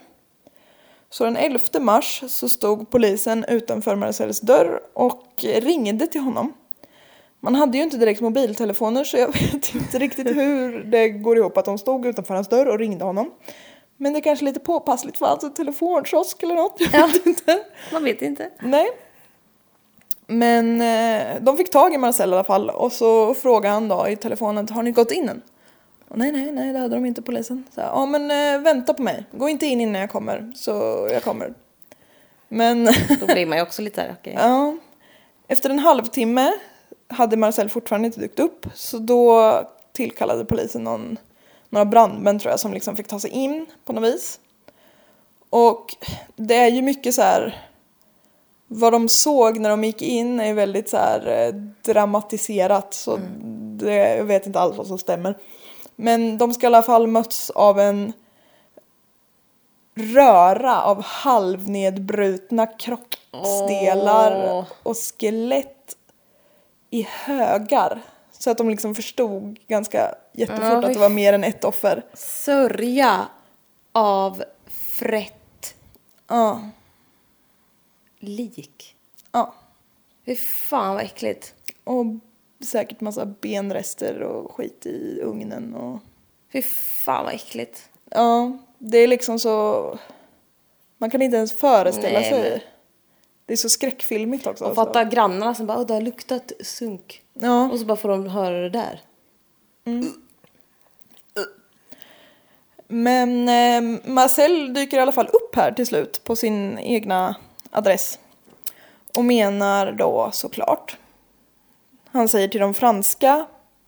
A: Så den 11 mars så stod polisen utanför Marcels dörr och ringde till honom. Man hade ju inte direkt mobiltelefoner så jag vet inte riktigt hur det går ihop att de stod utanför hans dörr och ringde honom. Men det är kanske lite påpassligt för alltså telefonkiosk eller något. Jag vet inte.
B: Man vet inte.
A: Nej. Men eh, de fick tag i Marcel i alla fall och så frågade han då i telefonen, har ni gått in än? Och, nej, nej, nej, det hade de inte polisen. Så här, ja men eh, vänta på mig, gå inte in innan jag kommer, så jag kommer. Men
B: Då blir man ju också lite där, okej.
A: Ja. Efter en halvtimme hade Marcel fortfarande inte dykt upp så då tillkallade polisen någon, några brandmän tror jag som liksom fick ta sig in på något vis. Och det är ju mycket så här vad de såg när de gick in är ju väldigt så här eh, dramatiserat så det, jag vet inte alls vad som stämmer. Men de ska i alla fall möts av en röra av halvnedbrutna kroppsdelar
B: Åh.
A: och skelett i högar. Så att de liksom förstod ganska jättefort
B: Ja,
A: att det var mer än ett offer.
C: Sörja av frätt
A: Ja,
C: lik.
A: ja.
C: Fy fan vad äckligt.
A: Och säkert massa benrester och skit i ugnen och...
C: Fy fan vad äckligt.
A: Ja, det är liksom så... Man kan inte ens föreställa
C: Nej,
A: sig.
C: men-
A: Det är så skräckfilmigt också. alltså.
C: Och fatta grannarna som bara "Åh, det har luktat sunk.
A: Ja.
C: Och så bara får de höra det där.
A: Men eh, Marcel dyker i alla fall upp här till slut på sin egna adress. Och menar då såklart. Han säger till, de franska,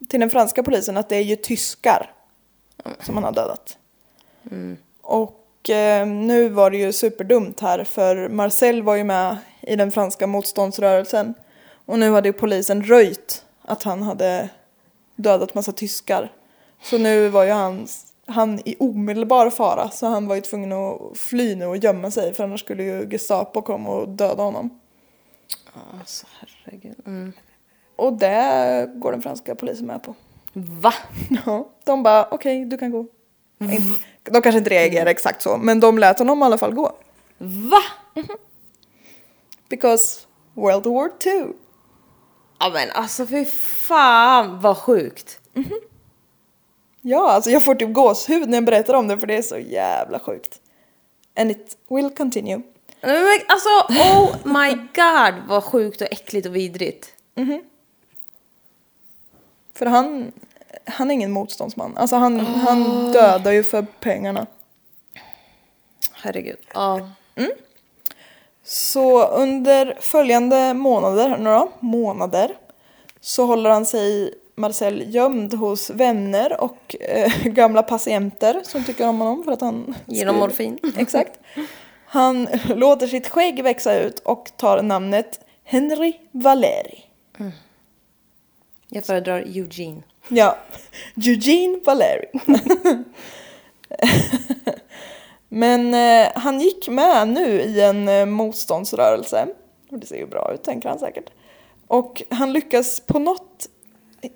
A: till den franska polisen att det är ju tyskar som han har dödat. Och eh, nu var det ju superdumt här för Marcel var ju med i den franska motståndsrörelsen. Och nu hade ju polisen röjt att han hade dödat massa tyskar. Så nu var ju hans, han i omedelbar fara så han var ju tvungen att fly nu och gömma sig för annars skulle ju Gestapo komma och döda honom.
C: Alltså herregud. Mm.
A: Och det går den franska polisen med på.
C: Va?
A: Ja, de bara okej, du kan gå.
C: Mm.
A: De kanske inte reagerade exakt så, men de lät honom i alla fall gå.
C: Va?
A: Because World War II.
C: Ja men alltså fy fan vad sjukt.
A: Ja, alltså jag får typ gåshud när jag berättar om det för det är så jävla sjukt. And it will continue.
C: Nej, Men alltså oh my god vad sjukt och äckligt och vidrigt.
A: Mhm. För han, han är ingen motståndsman. Alltså han, han dödar ju för pengarna.
C: Herregud. Ja.
A: Så under följande månader, några månader, så håller han sig, Marcel, gömd hos vänner och eh, gamla patienter som tycker om honom för att han...
C: Ger dem
A: skriver-
C: morfin.
A: Exakt. Han låter sitt skägg växa ut och tar namnet Henry Valeri.
C: Jag föredrar Eugene.
A: Ja, Eugene Valeri. Men eh, han gick med nu i en eh, motståndsrörelse. Och det ser ju bra ut, tänker han säkert. Och han lyckas på något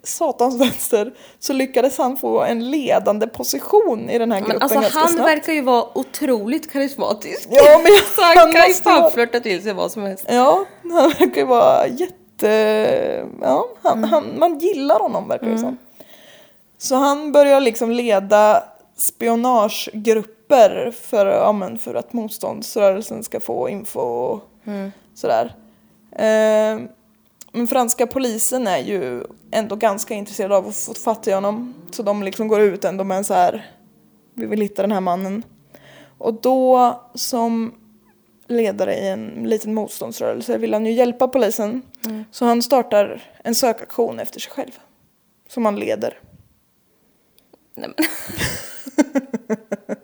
A: satans vänster så lyckades han få en ledande position i den här gruppen
C: Men alltså
A: ganska
C: han
A: snabbt.
C: verkar ju vara otroligt karismatisk.
A: Ja, men jag-
C: Så han,
A: han
C: kan ju
A: måste
C: fan
A: vara-
C: flörta till sig vad som helst.
A: Ja, han verkar ju vara jätte... Ja, han, han, man gillar honom verkar det som. Så han börjar liksom leda spionagegrupper för, ja, men för att motståndsrörelsen ska få info och sådär. Ehm, men franska polisen är ju ändå ganska intresserad av att få fatt i honom. Så de liksom går ut ändå med en så här, vi vill hitta den här mannen. Och då som ledare i en liten motståndsrörelse vill han ju hjälpa polisen. Så han startar en sökaktion efter sig själv. Som han leder.
C: Nej, men.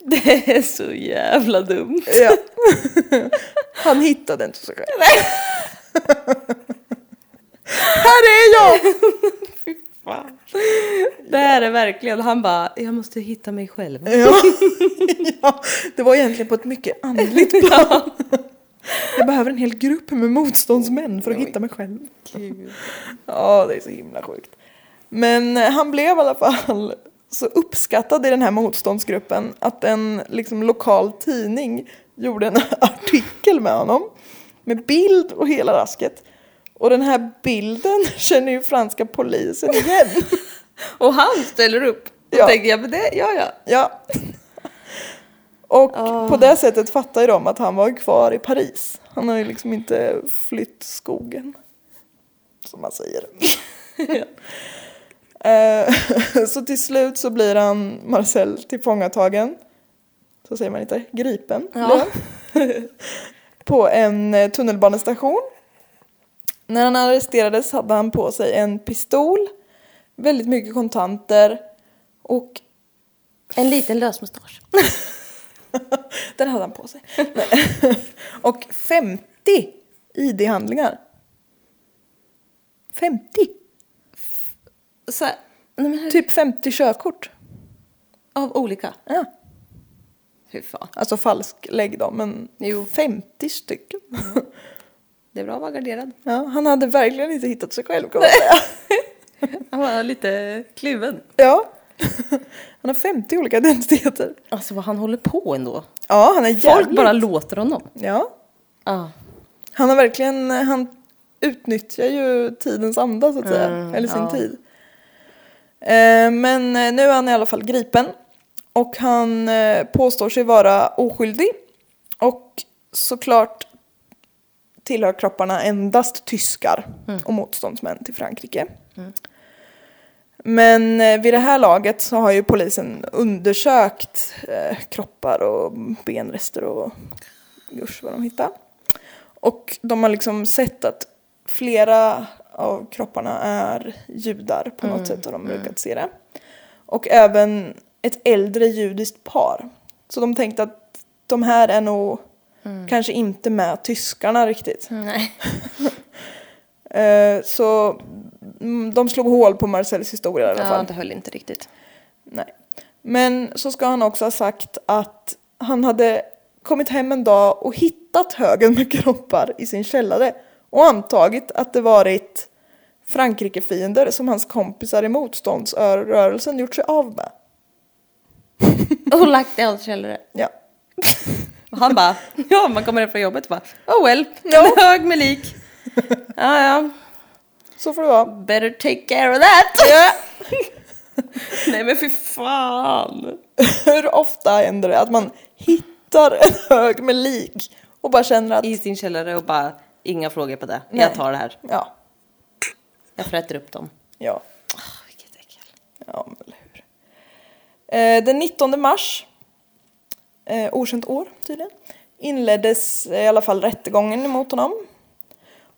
C: Det är så jävla dumt.
A: Ja. han hittade inte sig själv. Här är jag!
C: Det här är verkligen, han bara, jag måste hitta mig själv.
A: Ja. ja. Det var egentligen på ett mycket andligt plan. Jag behöver en hel grupp med motståndsmän för att hitta mig själv. Ja, det är så himla sjukt. Men eh, han blev i alla fall så uppskattad i den här motståndsgruppen att en liksom, lokal tidning gjorde en artikel med honom. Med bild och hela rasket. Och den här bilden känner ju franska polisen igen.
C: Och han ställer upp. Och
A: Ja.
C: tänker jag, men det, ja ja.
A: Ja. Och på det sättet fattar ju de att han var kvar i Paris. Han har ju liksom inte flytt skogen. Som man säger. Eh, så till slut så blir han Marcel tillfångatagen. Så säger man inte. Gripen.
C: Ja.
A: blev han. på en eh, tunnelbanestation. När han arresterades hade han på sig en pistol, väldigt mycket kontanter och
C: En liten lösmustasch.
A: Den hade han på sig. och 50 ID-handlingar. 50!
B: så här, nej men,
A: Typ 50 körkort.
B: av olika.
A: Ja.
B: Fy fan.
A: Alltså falsklägg då, men
B: Jo.
A: 50 stycken.
B: Det är bra att vara garderad.
A: Ja, han hade verkligen inte hittat sig själv kan man säga.
B: Han var lite kluven.
A: Ja. Han har 50 olika identiteter.
B: Alltså vad han håller på ändå.
A: Ja, han är jävligt...
B: Folk bara låter honom.
A: Ja.
B: Ja.
A: Han har verkligen, han utnyttjar ju tidens anda så att säga,
B: Mm,
A: eller sin
B: ja.
A: tid. Eh, Men eh, nu är han i alla fall gripen och han eh, påstår sig vara oskyldig och såklart tillhör kropparna endast tyskar och motståndsmän till Frankrike. Men eh, vid det här laget så har ju polisen undersökt eh, kroppar och benrester och Guds vad de hittade. Och de har liksom sett att flera av kropparna är judar på något sätt har de brukat se det. Och även ett äldre judiskt par. Så de tänkte att de här är nog kanske inte med tyskarna riktigt.
B: Nej.
A: Eh, så mm, de slog hål på Marcells historia i alla fall.
B: det höll inte riktigt.
A: Nej. Men så ska han också ha sagt att han hade kommit hem en dag och hittat högen med kroppar i sin källare och antagit att det varit Frankrikefiender som hans kompisar i motståndsrörelsen gjort sig av med.
B: Och lagt i hans källare.
A: Ja.
B: Och han bara, ja man kommer hem från jobbet och bara, oh well,
A: Ja.
B: en hög med lik. Ja, ja,
A: Så får det vara.
B: better take care of that.
A: Ja.
B: Nej men fy fan.
A: Hur ofta händer det att man hittar en hög med lik och bara känner att
B: I sin källare och bara, inga frågor på det.
A: Nej.
B: Jag tar det här.
A: ja,
B: Jag fräter upp dem.
A: ja,
B: Oh, vilket äckel.
A: Ja, men eller hur. Eh, den 19 mars, eh, okänt år tydligen, inleddes i alla fall rättegången mot honom.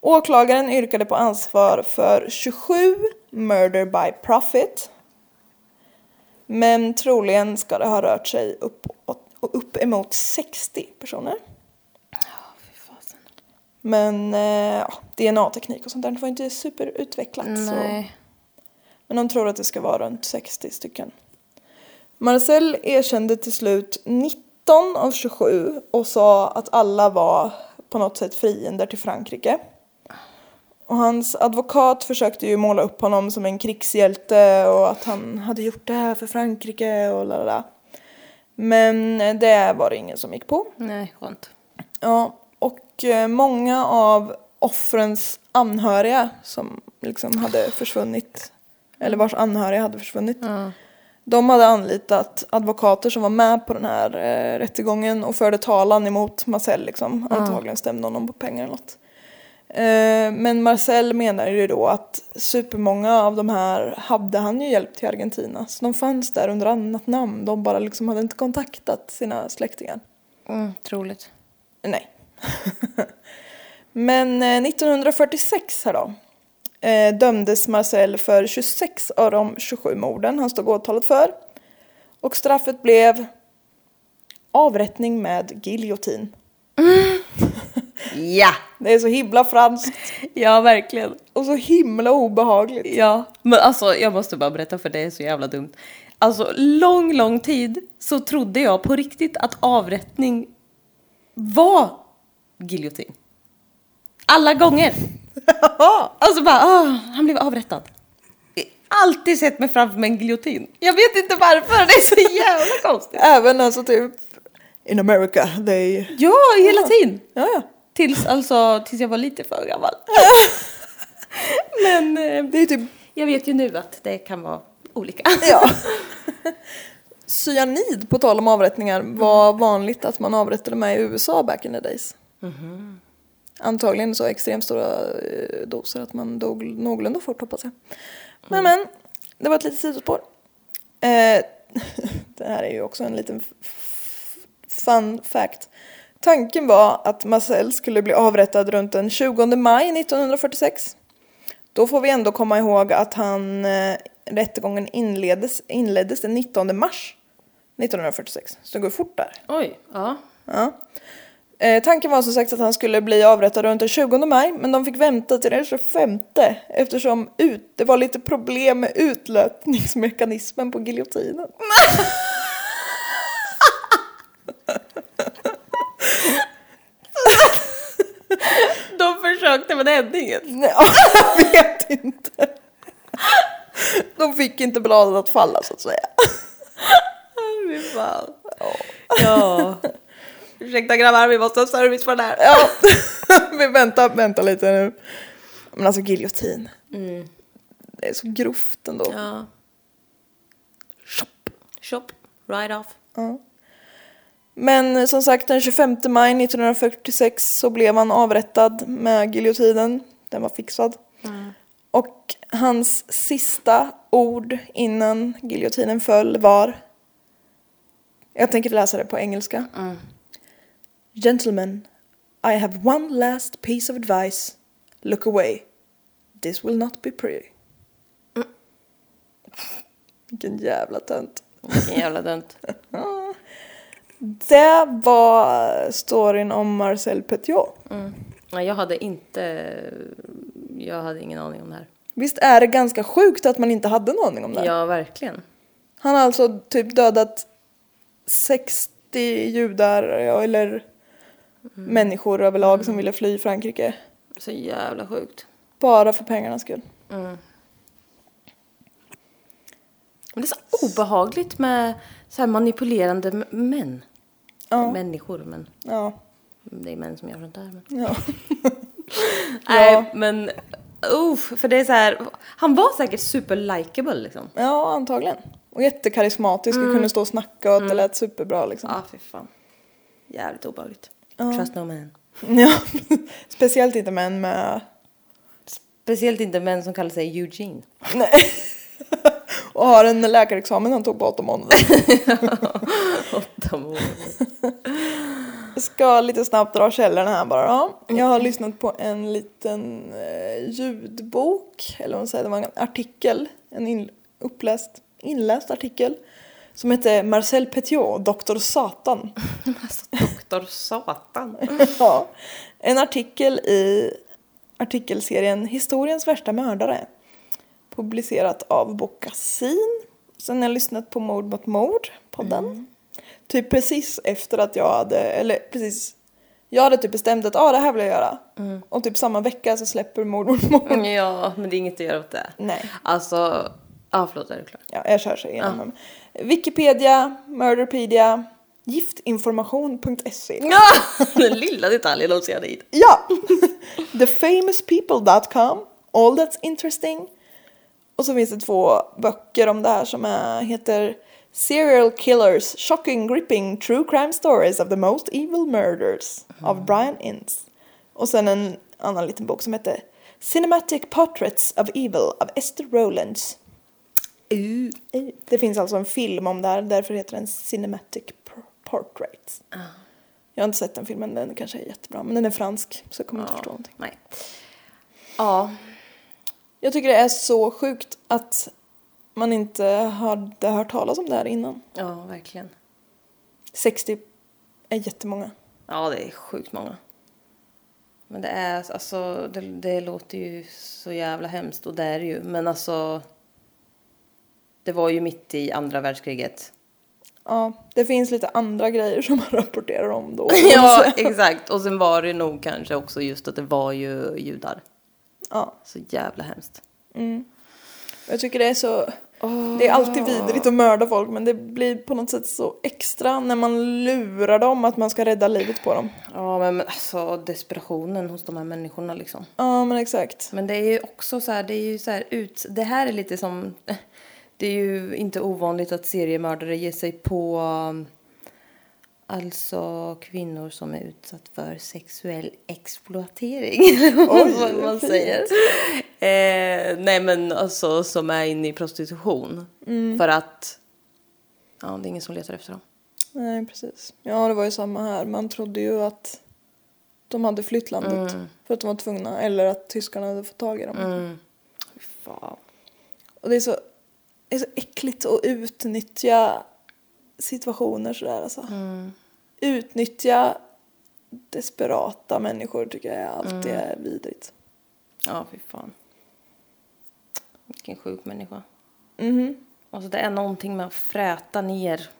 A: Åklagaren yrkade på ansvar för 27 murder by profit. Men troligen ska det ha rört sig upp, upp emot 60 personer. Men eh, ja, DNA-teknik och sånt där var inte superutvecklat. Så. Men de tror att det ska vara runt 60 stycken. Marcel erkände till slut 19 av 27 och sa att alla var på något sätt fiender till Frankrike. Och hans advokat försökte ju måla upp honom som en krigshjälte och att han hade gjort det här för Frankrike och lalala. Men eh, det var det ingen som gick på.
B: Nej, skönt.
A: Ja, och eh, många av offrens anhöriga som liksom hade försvunnit, eller vars anhöriga hade försvunnit,
C: Mm.
A: de hade anlitat advokater som var med på den här eh, rättegången och förde talan emot Marcel liksom. Antagligen stämde honom på pengar eller något. Eh, men Marcel menar ju då att supermånga av de här hade han ju hjälpt till Argentina. Så de fanns där under annat namn. De bara liksom hade inte kontaktat sina släktingar.
B: Mm, troligt.
A: Nej. Men eh, 1946 här då. Eh, dömdes Marcel för 26 av de 27 morden han stod åtalad för. Och straffet blev avrättning med giljotin.
B: Ja!
A: Det är så himla franskt
B: Ja, verkligen.
A: och så himla obehagligt.
B: Ja, men alltså jag måste bara berätta för det är så jävla dumt. Alltså lång, lång tid så trodde jag på riktigt att avrättning var giljotin. Alla gånger. Alltså bara, ah, han blev avrättad. Jag har Alltid sett mig framför mig en giljotin. Jag vet inte varför, det är så jävla konstigt.
A: Även alltså typ in America, they...
B: Ja, hela tiden.
A: Ja, ja.
B: Tills, alltså, tills jag var lite för gammal. Men eh,
A: Det är typ...
B: jag vet ju nu att det kan vara olika.
A: Ja. Cyanid, på tal om avrättningar, var vanligt att man avrättade med i USA back in the days. Antagligen så extremt stora eh, doser att man dog någorlunda fort hoppas jag. Men men, det var ett litet sidospår. Eh, det här är ju också en liten f- f- fun fact. Tanken var att Marcel skulle bli avrättad runt den 20 maj 1946. Då får vi ändå komma ihåg att han, eh, rättegången inleddes, inleddes den 19 mars 1946. Så det går fort där.
B: Oj, ja.
A: Ja. Eh, tanken var som sagt att han skulle bli avrättad runt den 20 maj men de fick vänta till den 25 eftersom ut, det var lite problem med utlöpningsmekanismen på giljotinen.
B: De försökte men det hände inget.
A: Nej, jag vet inte. De fick inte bladen att falla så att säga.
B: Fy fan. Ja. Ursäkta grabbar, vi måste ha service för det här.
A: Ja. Vi väntar, väntar lite nu. Men alltså giljotin. Det är så grovt ändå.
B: Mm. Ja. Shop. Shop. Right off.
A: Ja. Men som sagt den 25 maj 1946 så blev han avrättad med giljotinen. Den var fixad.
B: Mm.
A: Och hans sista ord innan giljotinen föll var Jag tänker läsa det på engelska.
C: Mm.
A: Gentlemen, I have one last piece of advice. Look away. This will not be pretty. Vilken jävla tönt.
B: Jävla dumt.
A: Det var storyn om Marcel Petiot.
B: Nej, jag hade inte... Jag hade ingen aning om det här.
A: Visst är det ganska sjukt att man inte hade en aning om det? här?
B: Ja, verkligen.
A: Han har alltså typ dödat 60 judar ja, eller
B: Mm.
A: människor överlag som ville fly Frankrike.
B: Så jävla sjukt.
A: Bara för pengarnas skull.
B: Mm. Men det är så obehagligt med så här manipulerande m- män.
A: Ja.
B: Människor, men
A: Ja.
B: det är män som gör sånt där. Men.
A: ja.
B: Nej, men uff, för det är så här. Han var säkert super likeable liksom.
A: ja, antagligen. Och jättekarismatisk och kunde stå och snacka och att det lät superbra liksom.
B: Mm. Ja, ah, fy fan. Jävligt obehagligt. Trust no man.
A: Ja. Speciellt inte män med...
B: Speciellt inte män som kallar sig Eugene.
A: Nej. och har en läkarexamen han tog på åtta månader.
B: Åtta månader.
A: ska lite snabbt dra källorna här bara då. Jag har lyssnat på en liten eh, ljudbok, eller vad man säger, det var en artikel, en in, uppläst, inläst artikel som hette Marcel Petiot, Doktor Satan.
B: Alltså, doktor Satan.
A: ja. En artikel i artikelserien Historiens värsta mördare publicerat av Bocassin. Sen har jag lyssnat på Mord mot mord, podden. Typ precis efter att jag hade, eller precis, jag hade typ bestämt att ah, det här vill jag göra. Och typ samma vecka så släpper Mord mot mord.
B: Ja, men det är inget att göra åt det.
A: Nej.
B: Alltså, ja ah, förlåt, är du klar?
A: Ja, jag kör sig igenom dem. Wikipedia, Murderpedia, giftinformation.se.
B: Ja, den lilla detaljen de ser dit.
A: Ja! Thefamouspeople.com All that's interesting. Och så finns det två böcker om det här som är, heter Serial Killers Shocking Gripping True Crime Stories of the Most Evil Murders av Brian Ince. Och sen en annan liten bok som heter Cinematic Portraits of Evil av Esther Rowlands.
B: Uh.
A: Det finns alltså en film om det här, därför heter den Cinematic Por- Portraits. Jag har inte sett den filmen, den kanske är jättebra, men den är fransk så jag kommer inte förstå någonting.
B: Nej. Ja,
A: Jag tycker det är så sjukt att man inte hade hört talas om det här innan.
B: ja verkligen.
A: 60 är jättemånga.
B: Ja, det är sjukt många. Men det är alltså, det, det låter ju så jävla hemskt och det är det ju. Men alltså, det var ju mitt i andra världskriget.
A: Ja, det finns lite andra grejer som man rapporterar om då.
B: Ja, exakt. Och sen var det nog kanske också just att det var ju judar.
A: ja.
B: Så jävla hemskt.
A: Mm. Jag tycker det är så... Det är
B: Ah.
A: alltid vidrigt att mörda folk men det blir på något sätt så extra när man lurar dem att man ska rädda livet på dem.
B: Ja, men men alltså desperationen hos de här människorna liksom.
A: Ja men exakt.
B: Men det är ju också så här, det är ju så här ut, det här är lite som, det är ju inte ovanligt att seriemördare ger sig på um, alltså kvinnor som är utsatt för sexuell exploatering. Oj, vad man säger. Eh, nej men alltså som är inne i prostitution.
A: Mm.
B: För att, ja det är ingen som letar efter dem.
A: Nej precis. Ja det var ju samma här. Man trodde ju att de hade flytt landet för att de var tvungna eller att tyskarna hade fått tag i dem.
B: Fy Fan.
A: Och det är så, det är så äckligt att utnyttja situationer sådär alltså. Utnyttja desperata människor tycker jag alltid är vidrigt.
B: Ja, fy fan. Vilken sjuk människa.
A: Mhm.
B: Alltså det är någonting med att fräta ner.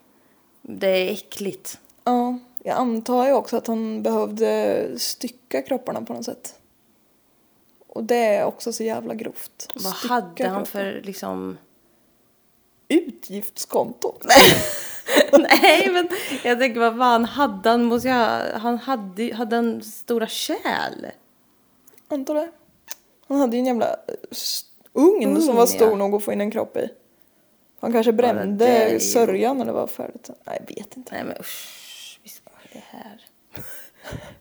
B: Det är äckligt.
A: Ja, jag antar ju också att han behövde stycka kropparna på något sätt. Och det är också så jävla grovt.
B: Vad
A: Stycka
B: hade han
A: kroppen.
B: för liksom...
A: Utgiftskonto.
B: Nej men jag tänker vad fan hade han? Måste jag... Han hade, hade han stora kärl?
A: Antar det. Han hade ju en jävla eh, s- ugn som var
B: Ugn,
A: stor
B: ja.
A: nog att få in en kropp i. Han kanske brände
B: det är ju-
A: sörjan eller vad färdigt. Nej, jag vet inte.
B: Nej men usch. Vi ska det här.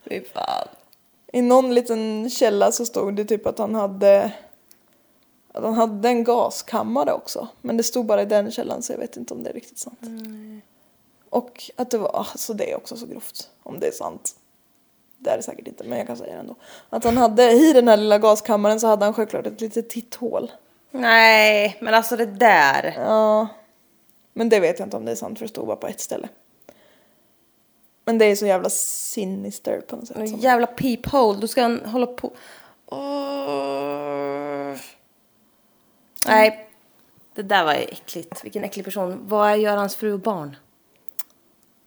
B: Fy fan.
A: I någon liten källa så stod det typ att han hade att han hade en gaskammare också. Men det stod bara i den källan så jag vet inte om det är riktigt sant. Och att det var, alltså det är också så grovt om det är sant. Det är det säkert inte men jag kan säga det ändå. Att han hade, i den här lilla gaskammaren så hade han självklart ett litet titthål.
B: Nej men alltså det där.
A: Ja. Men det vet jag inte om det är sant för det stod bara på ett ställe. Men det är så jävla sinister på något sätt.
B: Någon
A: som-
B: jävla peephole. Då ska han hålla på. Åh. Nej. Det där var äckligt. Vilken äcklig person. Vad gör hans fru och barn?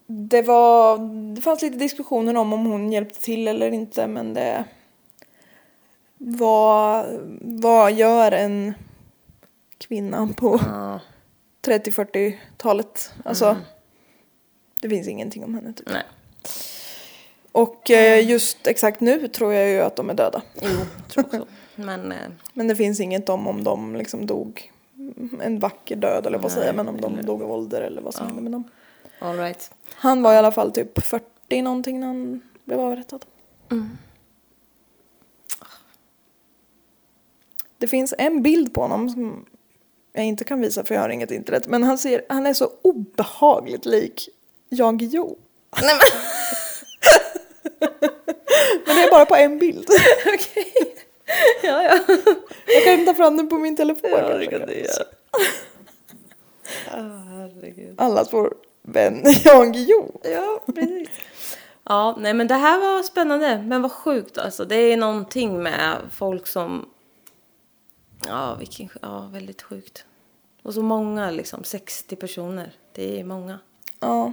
A: Det var, det fanns lite diskussioner om om hon hjälpte till eller inte men det vad, vad gör en kvinna på
B: Ja.
A: 30-40-talet? Alltså det finns ingenting om henne typ.
B: Nej.
A: Och eh, just exakt nu tror jag ju att de är döda.
B: Jo, tror också. Men eh,
A: Men det finns inget om om de liksom dog en vacker död eller vad säger men om de dog av ålder eller vad som hände med dem.
B: all right.
A: Han var i alla fall typ 40 någonting när han blev avrättad. Mm. Det finns en bild på honom som jag inte kan visa för jag har inget internet. Men han, ser, han är så obehagligt lik Jan Guillou.
B: Nej, men,
A: Men det är bara på en bild.
B: okej. Ja, ja.
A: Jag kan ta fram den på min telefon.
B: Ja, det
A: kanske.
B: kan du göra. Åh, herregud.
A: Allas vår vän Jan Guillou.
B: Ja, precis. Ja, nej men det här var spännande. Men vad sjukt alltså. Det är någonting med folk som... Ja, vilken, ja väldigt sjukt. Och så många liksom. 60 personer. Det är många.
A: Ja.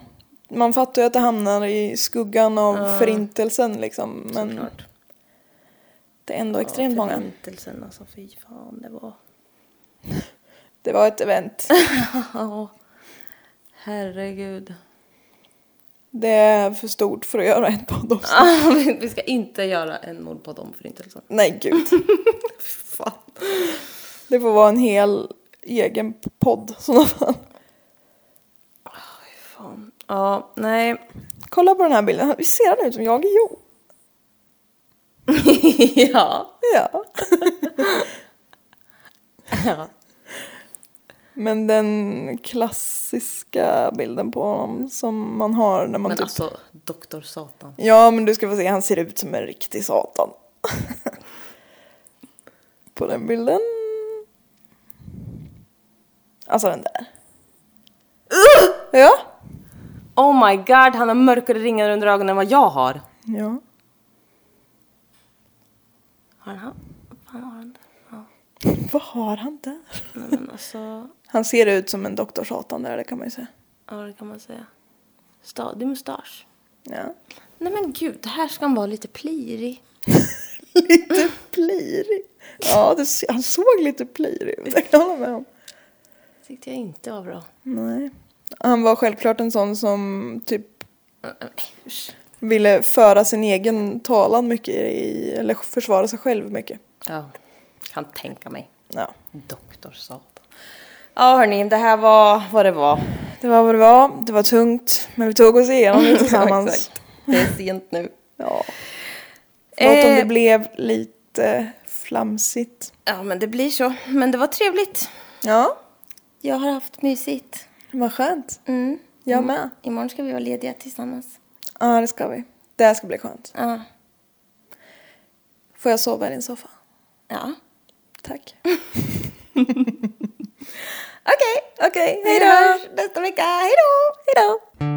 A: Man fattar ju att det hamnar i skuggan av förintelsen liksom. Men
B: Såklart.
A: det är ändå extremt många.
B: Förintelsen alltså. Fy fan, det var...
A: Det var ett event.
B: Ja. Herregud.
A: Det är för stort för att göra ett podd också.
B: Ah, vi- vi ska inte göra en mordpodd om Förintelsen.
A: Nej gud.
B: Fan.
A: Det får vara en hel egen podd. Såna fall.
B: Fan. Ja, nej.
A: Kolla på den här bilden. Vi ser han ut som jag Jo.
B: ja.
A: Ja.
B: ja.
A: Men den klassiska bilden på honom som man har när man
B: Men
A: typ...
B: alltså, doktor Satan.
A: Ja men du ska få se, han ser ut som en riktig satan. på den bilden. Alltså den där. Ja.
B: Oh my god, han har mörkare ringar under ögonen än vad jag har.
A: Ja.
B: Har han? Fan har han det? Ja.
A: Vad har han där?
B: Nej men alltså,
A: Han ser ut som en doktor satan där, det kan man ju säga.
B: ja det kan man säga. Stadig mustasch.
A: Ja.
B: Nej men gud, här ska han vara lite plirig.
A: Lite plirig. Ja, det, se- han såg lite plirig ut. Det kan jag hålla med om.
B: Tyckte jag inte var bra.
A: Nej. Han var självklart en sån som typ ville föra sin egen talan mycket i, eller försvara sig själv mycket.
B: Ja, kan tänka mig.
A: Ja.
B: Doktor Satan. Ja hörni, det här var vad det var.
A: Det var vad det var. Det var tungt, men vi tog oss igenom det
B: Ja,
A: tillsammans.
B: exakt. det är sent nu.
A: ja. Förlåt om
B: Eh.
A: det blev lite flamsigt.
B: Ja men det blir så. Men det var trevligt.
A: Ja,
B: Jag har haft mysigt.
A: vad skönt.
B: Mm.
A: Jag med.
B: Imorgon ska vi vara lediga tillsammans.
A: Ja, det ska vi. Det här ska bli skönt.
B: Ja.
A: Får jag sova i din soffa?
B: ja.
A: Tack.
B: Okej, okej.
A: Vi
B: Hej
A: hörs
B: då! Nästa vecka. Hej då! Hej då!